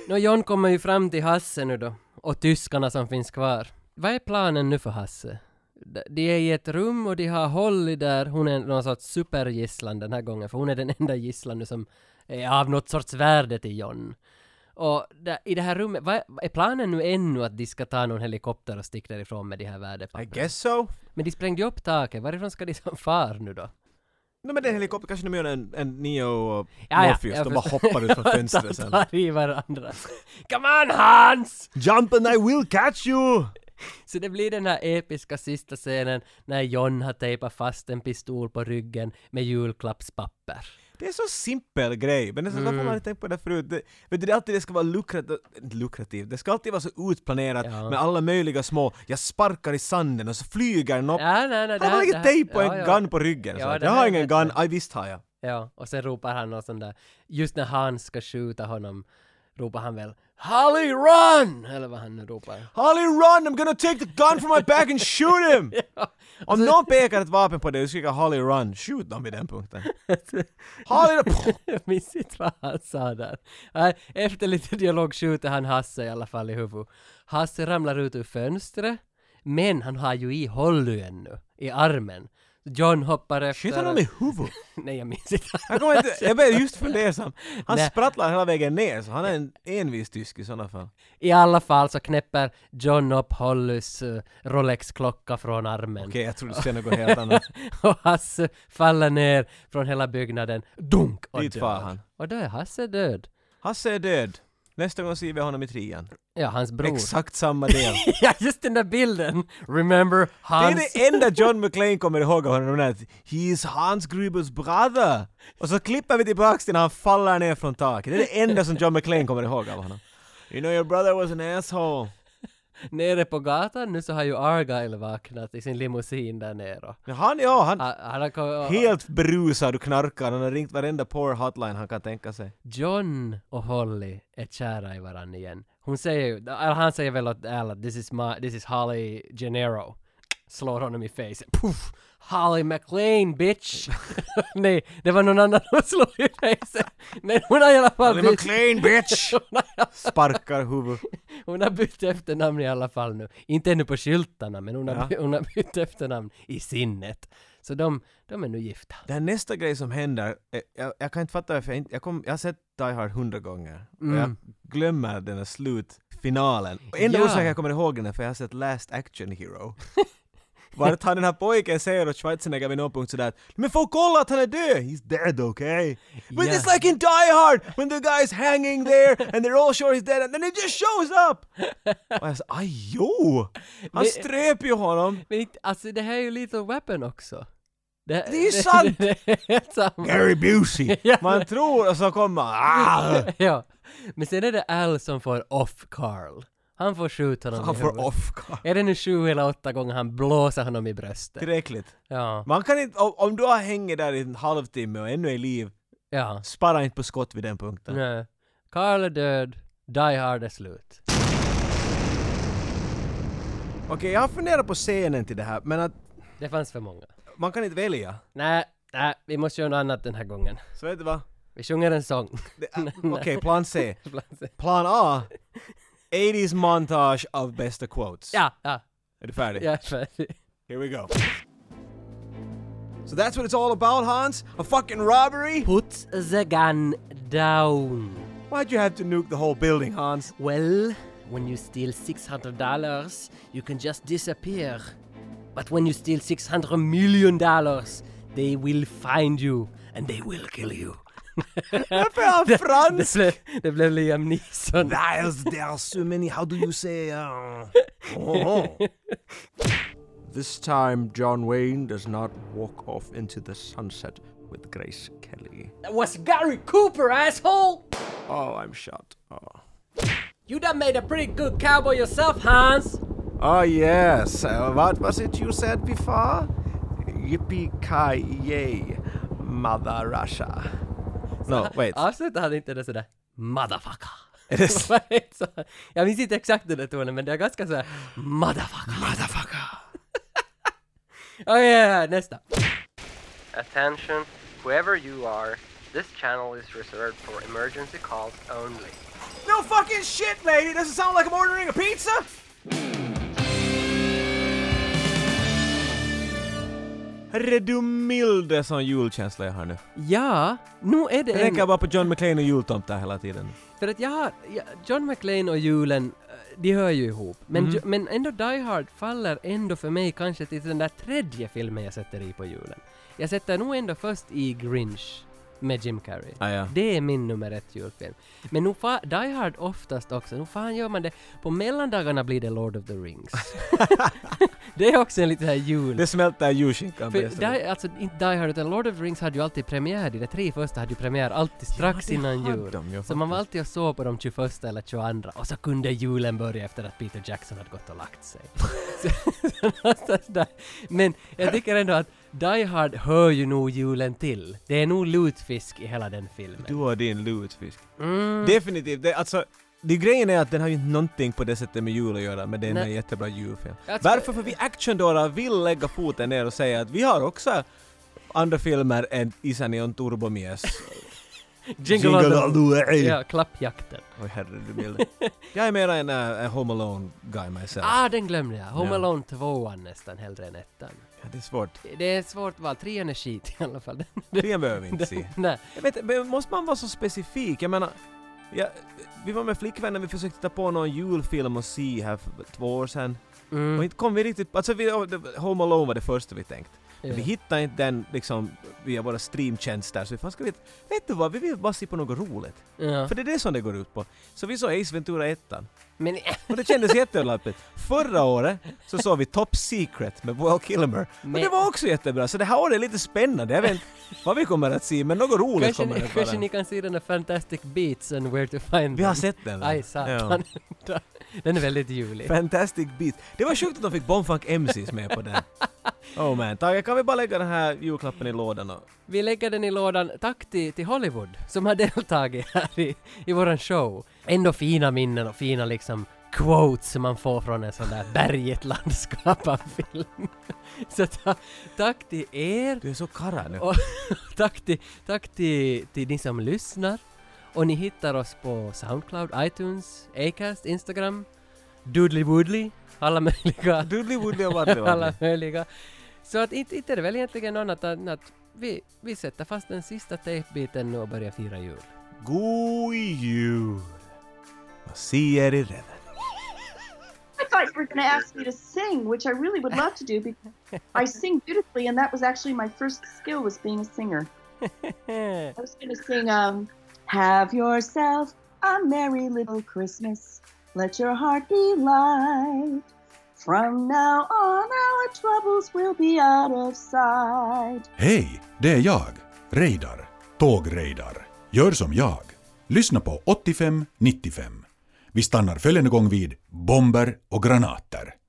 Nå, John kommer ju fram till Hasse nu då. Och tyskarna som finns kvar. Vad är planen nu för Hasse? D- De är i ett rum och de har Holly där. Hon är någon sorts supergisslan den här gången. För hon är den enda gisslan nu som är av något sorts värde till John. Och där, i det här rummet, vad är, är planen nu ännu att de ska ta någon helikopter och sticka därifrån med de här I värdepapperna? guess so. Men de sprängde ju upp taket, varifrån ska de som far nu då? Nej men den helikoptern kanske de gör en, en Neo och Ja, ja, Morpheus, jag de bara förstår. hoppar ut från fönstret De sen. tar i varandra. Come on Hans! Jump and I will catch you! Så det blir den här episka sista scenen när John har tejpat fast en pistol på ryggen med julklappspapper. Det är så simpel grej, men det är så, Mm. varför har man inte tänkt på det förut? Det, vet du, det är alltid det ska vara lukrativt, lukrativt, det ska alltid vara så utplanerat Ja. med alla möjliga små, jag sparkar i sanden och så flyger den upp. Ja, nej, nej, det Han här- har det lagt här- tejp och ja, en ja. gun på ryggen. Ja, så att, det jag här har är ingen bättre. gun, aj visst har jag. Ja, och sen ropar han någon sån där, just när Hans ska skjuta honom ropar han väl Holly run! Eller vad han nu ropar. Holly run, I'm gonna take the gun from my back and shoot him! Och Om så- någon pekar ett vapen på dig och skriker Holly run, skjut dem vid den punkten. Holly... Jag minns inte vad han sa där. Nej, Efter lite dialog skjuter han Hasse i alla fall i huvudet. Hasse ramlar ut ur fönstret, men han har ju i Holly ännu, i armen. John hoppar efter... Skjuter honom i huvudet? Nej, jag minns inte. Jag kommer inte... Jag blev just fundersam. Han Nej. sprattlar hela vägen ner, så han är en envis tysk i sådana fall. I alla fall så knäpper John upp Hollys eh, Rolex-klocka från armen. Okej, jag trodde du skulle säga något helt annat. och Hasse faller ner från hela byggnaden. Dunk! Och Dit dör. far han. Och då är Hasse död. Hasse är död. Nästa gång ser vi honom i trean. Ja, hans bror. Exakt samma del. ja, just den där bilden! Remember det är Hans... det enda John McClane kommer ihåg av honom, att “He is Hans Grubers brother”. Och så klipper vi tillbaks till när han faller ner från taket. Det är det enda som John McClane kommer ihåg av honom. You know your brother was an asshole. Nere på gatan nu så har ju Argyle vaknat i sin limousin där nere. Men han, ja, han... Han, han har kommit- Helt berusad och knarkar, han har ringt varenda poor hotline han kan tänka sig. John och Holly är kära i varandra igen. Hon säger ju, eller han säger väl åt Al att this is, my, this is Holly Gennaro. Slår honom i face. Puff! Holly McLean bitch! Nej, det var någon annan hon slog i face. Men hon har i alla fall Holly McLean, bitch! hon, har, Sparkar huvudet. hon har bytt efternamn i alla fall nu. Inte ännu på skyltarna, men hon har, Ja. by, hon har bytt efternamn i sinnet. Så de, de är nu gifta. Den nästa grej som händer, eh, jag, jag kan inte fatta varför jag inte, jag, kom, jag har sett Die Hard hundra gånger. Mm. Och jag glömmer den här slutfinalen. Och enda Ja. orsaken jag kommer ihåg den är för jag har sett Last Action Hero. Vart han den här pojken säger åt Schwarzenegger vid någon punkt sådär att Men folk kolla att han är död! He's dead, okay? But Ja. it's like in Die Hard! When the guy's hanging there and they're all sure he's dead and then he just shows up! Och jag sa aj jo! Han Men- ströp ju honom! Men inte, alltså det här är ju Little Weapon också. Det, Det är ju sant! Det, är helt samma. Gary Busey! Mm. Ja. Man tror och så kommer han ah! ja. Men sen är det Al som får off Carl. Han får skjuta honom Han i får huvudet. off guard. Är det nu sju eller åtta gånger han blåser honom i bröstet? Tillräckligt. Ja. Man kan inte, om, om du har hängit där i en halvtimme och ännu är i liv, Ja. spara inte på skott vid den punkten. Nej. Carl är död. Die Hard är slut. Okej, jag har funderat på scenen till det här, men att Det fanns för många. man kan inte välja. Nej, nej, vi måste göra något annat den här gången. Så vet du vad? äh, Vi sjunger en sång. Okej, plan C. Plan A. 80s montage of bästa quotes. Ja, ja. Är du färdig? Jag är färdig. Here we go. So that's what it's all about, Hans? A fucking robbery? Put the gun down. Why'd you have to nuke the whole building, Hans? Well, when you steal $600, you can just disappear. But when you steal $600 million, they will find you and they will kill you. Varför är han fransk? Det, blev, det blev Liam Neeson. There's, there are so many, how do you say, uh, oh. This time, John Wayne does not walk off into the sunset with Grace Kelly. That was Gary Cooper, asshole! Oh, I'm shot. Oh. You done made a pretty good cowboy yourself, Hans. Oh, yes. Uh, what was it you said before? Yippee-ki-yay, Mother Russia. No, wait. Avslutar han inte det sådär motherfucker? Är det s- Vad är det så? Jag minns inte exakt den där tonen men det är ganska såhär motherfucker. Motherfucker. Oh yeah, nästa. Attention, whoever you are, this channel is reserved for emergency calls only. No fucking shit, lady! Doesn't sound like I'm ordering a pizza! Herre du milde sån julkänsla jag har nu. Ja, nu är Jag det en... Mm. tänker bara på John McClane och jultomtar hela tiden. För att jag har, ja, John McClane och julen, eh, de hör ju ihop. Men, Mhm. ju, men ändå Die Hard faller ändå för mig kanske till den där tredje filmen jag sätter i på julen. Jag sätter nog ändå först i Grinch med Jim Carrey. Ah, ja. Det är min nummer ett julfilm. Men nu fa- Die Hard oftast också, nu fan gör man det. På mellandagarna blir det Lord of the Rings. det är också en liten här jul... Det smälter julskinkan För bäst. die, alltså inte Die Hard utan Lord of the Rings hade ju alltid premiär, de där tre första hade ju premiär alltid strax det innan hade jul. de ju så man var alltid och såg på de 21 eller 22 och så kunde julen börja efter att Peter Jackson hade gått och lagt sig. så, så någonstans där. Men jag tycker ändå att Die Hard hör ju nog julen till. Det är nog lutfisk i hela den filmen. Du har din lutfisk. Mm. Definitivt. Det, alltså, det grejen är att den har ju inte någonting på det sättet med jul att göra, men den är en Nej. jättebra julfilm. Jag tror- Varför? För vi actiondårar vill lägga foten ner och säga att vi har också andra filmer än Isani och Turbomies. Jingle all the- Jingle all the way. Ja, klappjakten. Oj herre du milde. Jag är mera en äh, en Home Alone guy myself. Ah, den glömde jag! Home Ja. Alone 2 nästan hellre än ettan. Ja, det är svårt. Det är svårt val, trean är skit i alla fall. Trean behöver vi inte se. Nej. Jag vet, men måste man vara så specifik? Jag menar, ja, vi var med flickvännen, vi försökte ta på någon julfilm och se här för två år sedan. Mm. Och inte kom vi riktigt... Alltså vi, Home Alone var det första vi tänkt. Men Ja. vi hittade inte den liksom via våra streamtjänster så vi fan ska vi... Vet du vad, vi vill bara se på något roligt. Ja. För det är det som det går ut på. Så vi såg Ace Ventura 1 Men och det kändes jättelappigt. Förra året så såg vi Top Secret med Val Kilmer. Och Men- det var också jättebra. Så det här året är lite spännande. Jag vet inte vad vi kommer att se men något roligt kanske, kommer ni, det kanske vara. ni kan se den där Fantastic Beats and Where to Find Vi har Them. sett den. Aj satan. den är väldigt julig. Fantastic Beat. Det var sjukt att de fick Bonfunk MCs med på den. Oh man. Tage, kan vi bara lägga den här julklappen i lådan och... Vi lägger den i lådan. Tack till, till Hollywood som har deltagit här i, i våran show. Ändå fina minnen och fina liksom quotes som man får från en sån där berget landskap av film. Så ta, tack till er. Du är så karra nu. Och tack till, tack till, till ni som lyssnar. Och ni hittar oss på Soundcloud, iTunes, Acast, Instagram, Doodly Woodly, alla möjliga. Dudley Woodley och Wadley Wadley. alla möjliga. Så att inte, inte är det väl egentligen något annat än att vi, vi sätter fast den sista tejpbiten nu och börjar fira jul. God jul! Och se er i reven. I thought you were going to ask me to sing, which I really would love to do because I sing beautifully, and that was actually my first skill was being a singer. I was going to sing, um, "Have yourself a merry little Christmas. Let your heart be light. From now on, our troubles will be out of sight." Hej, det är jag, Reidar, Tågreidar. Gör som jag. Lyssna på 85 95. Vi stannar följande gång vid bomber och granater.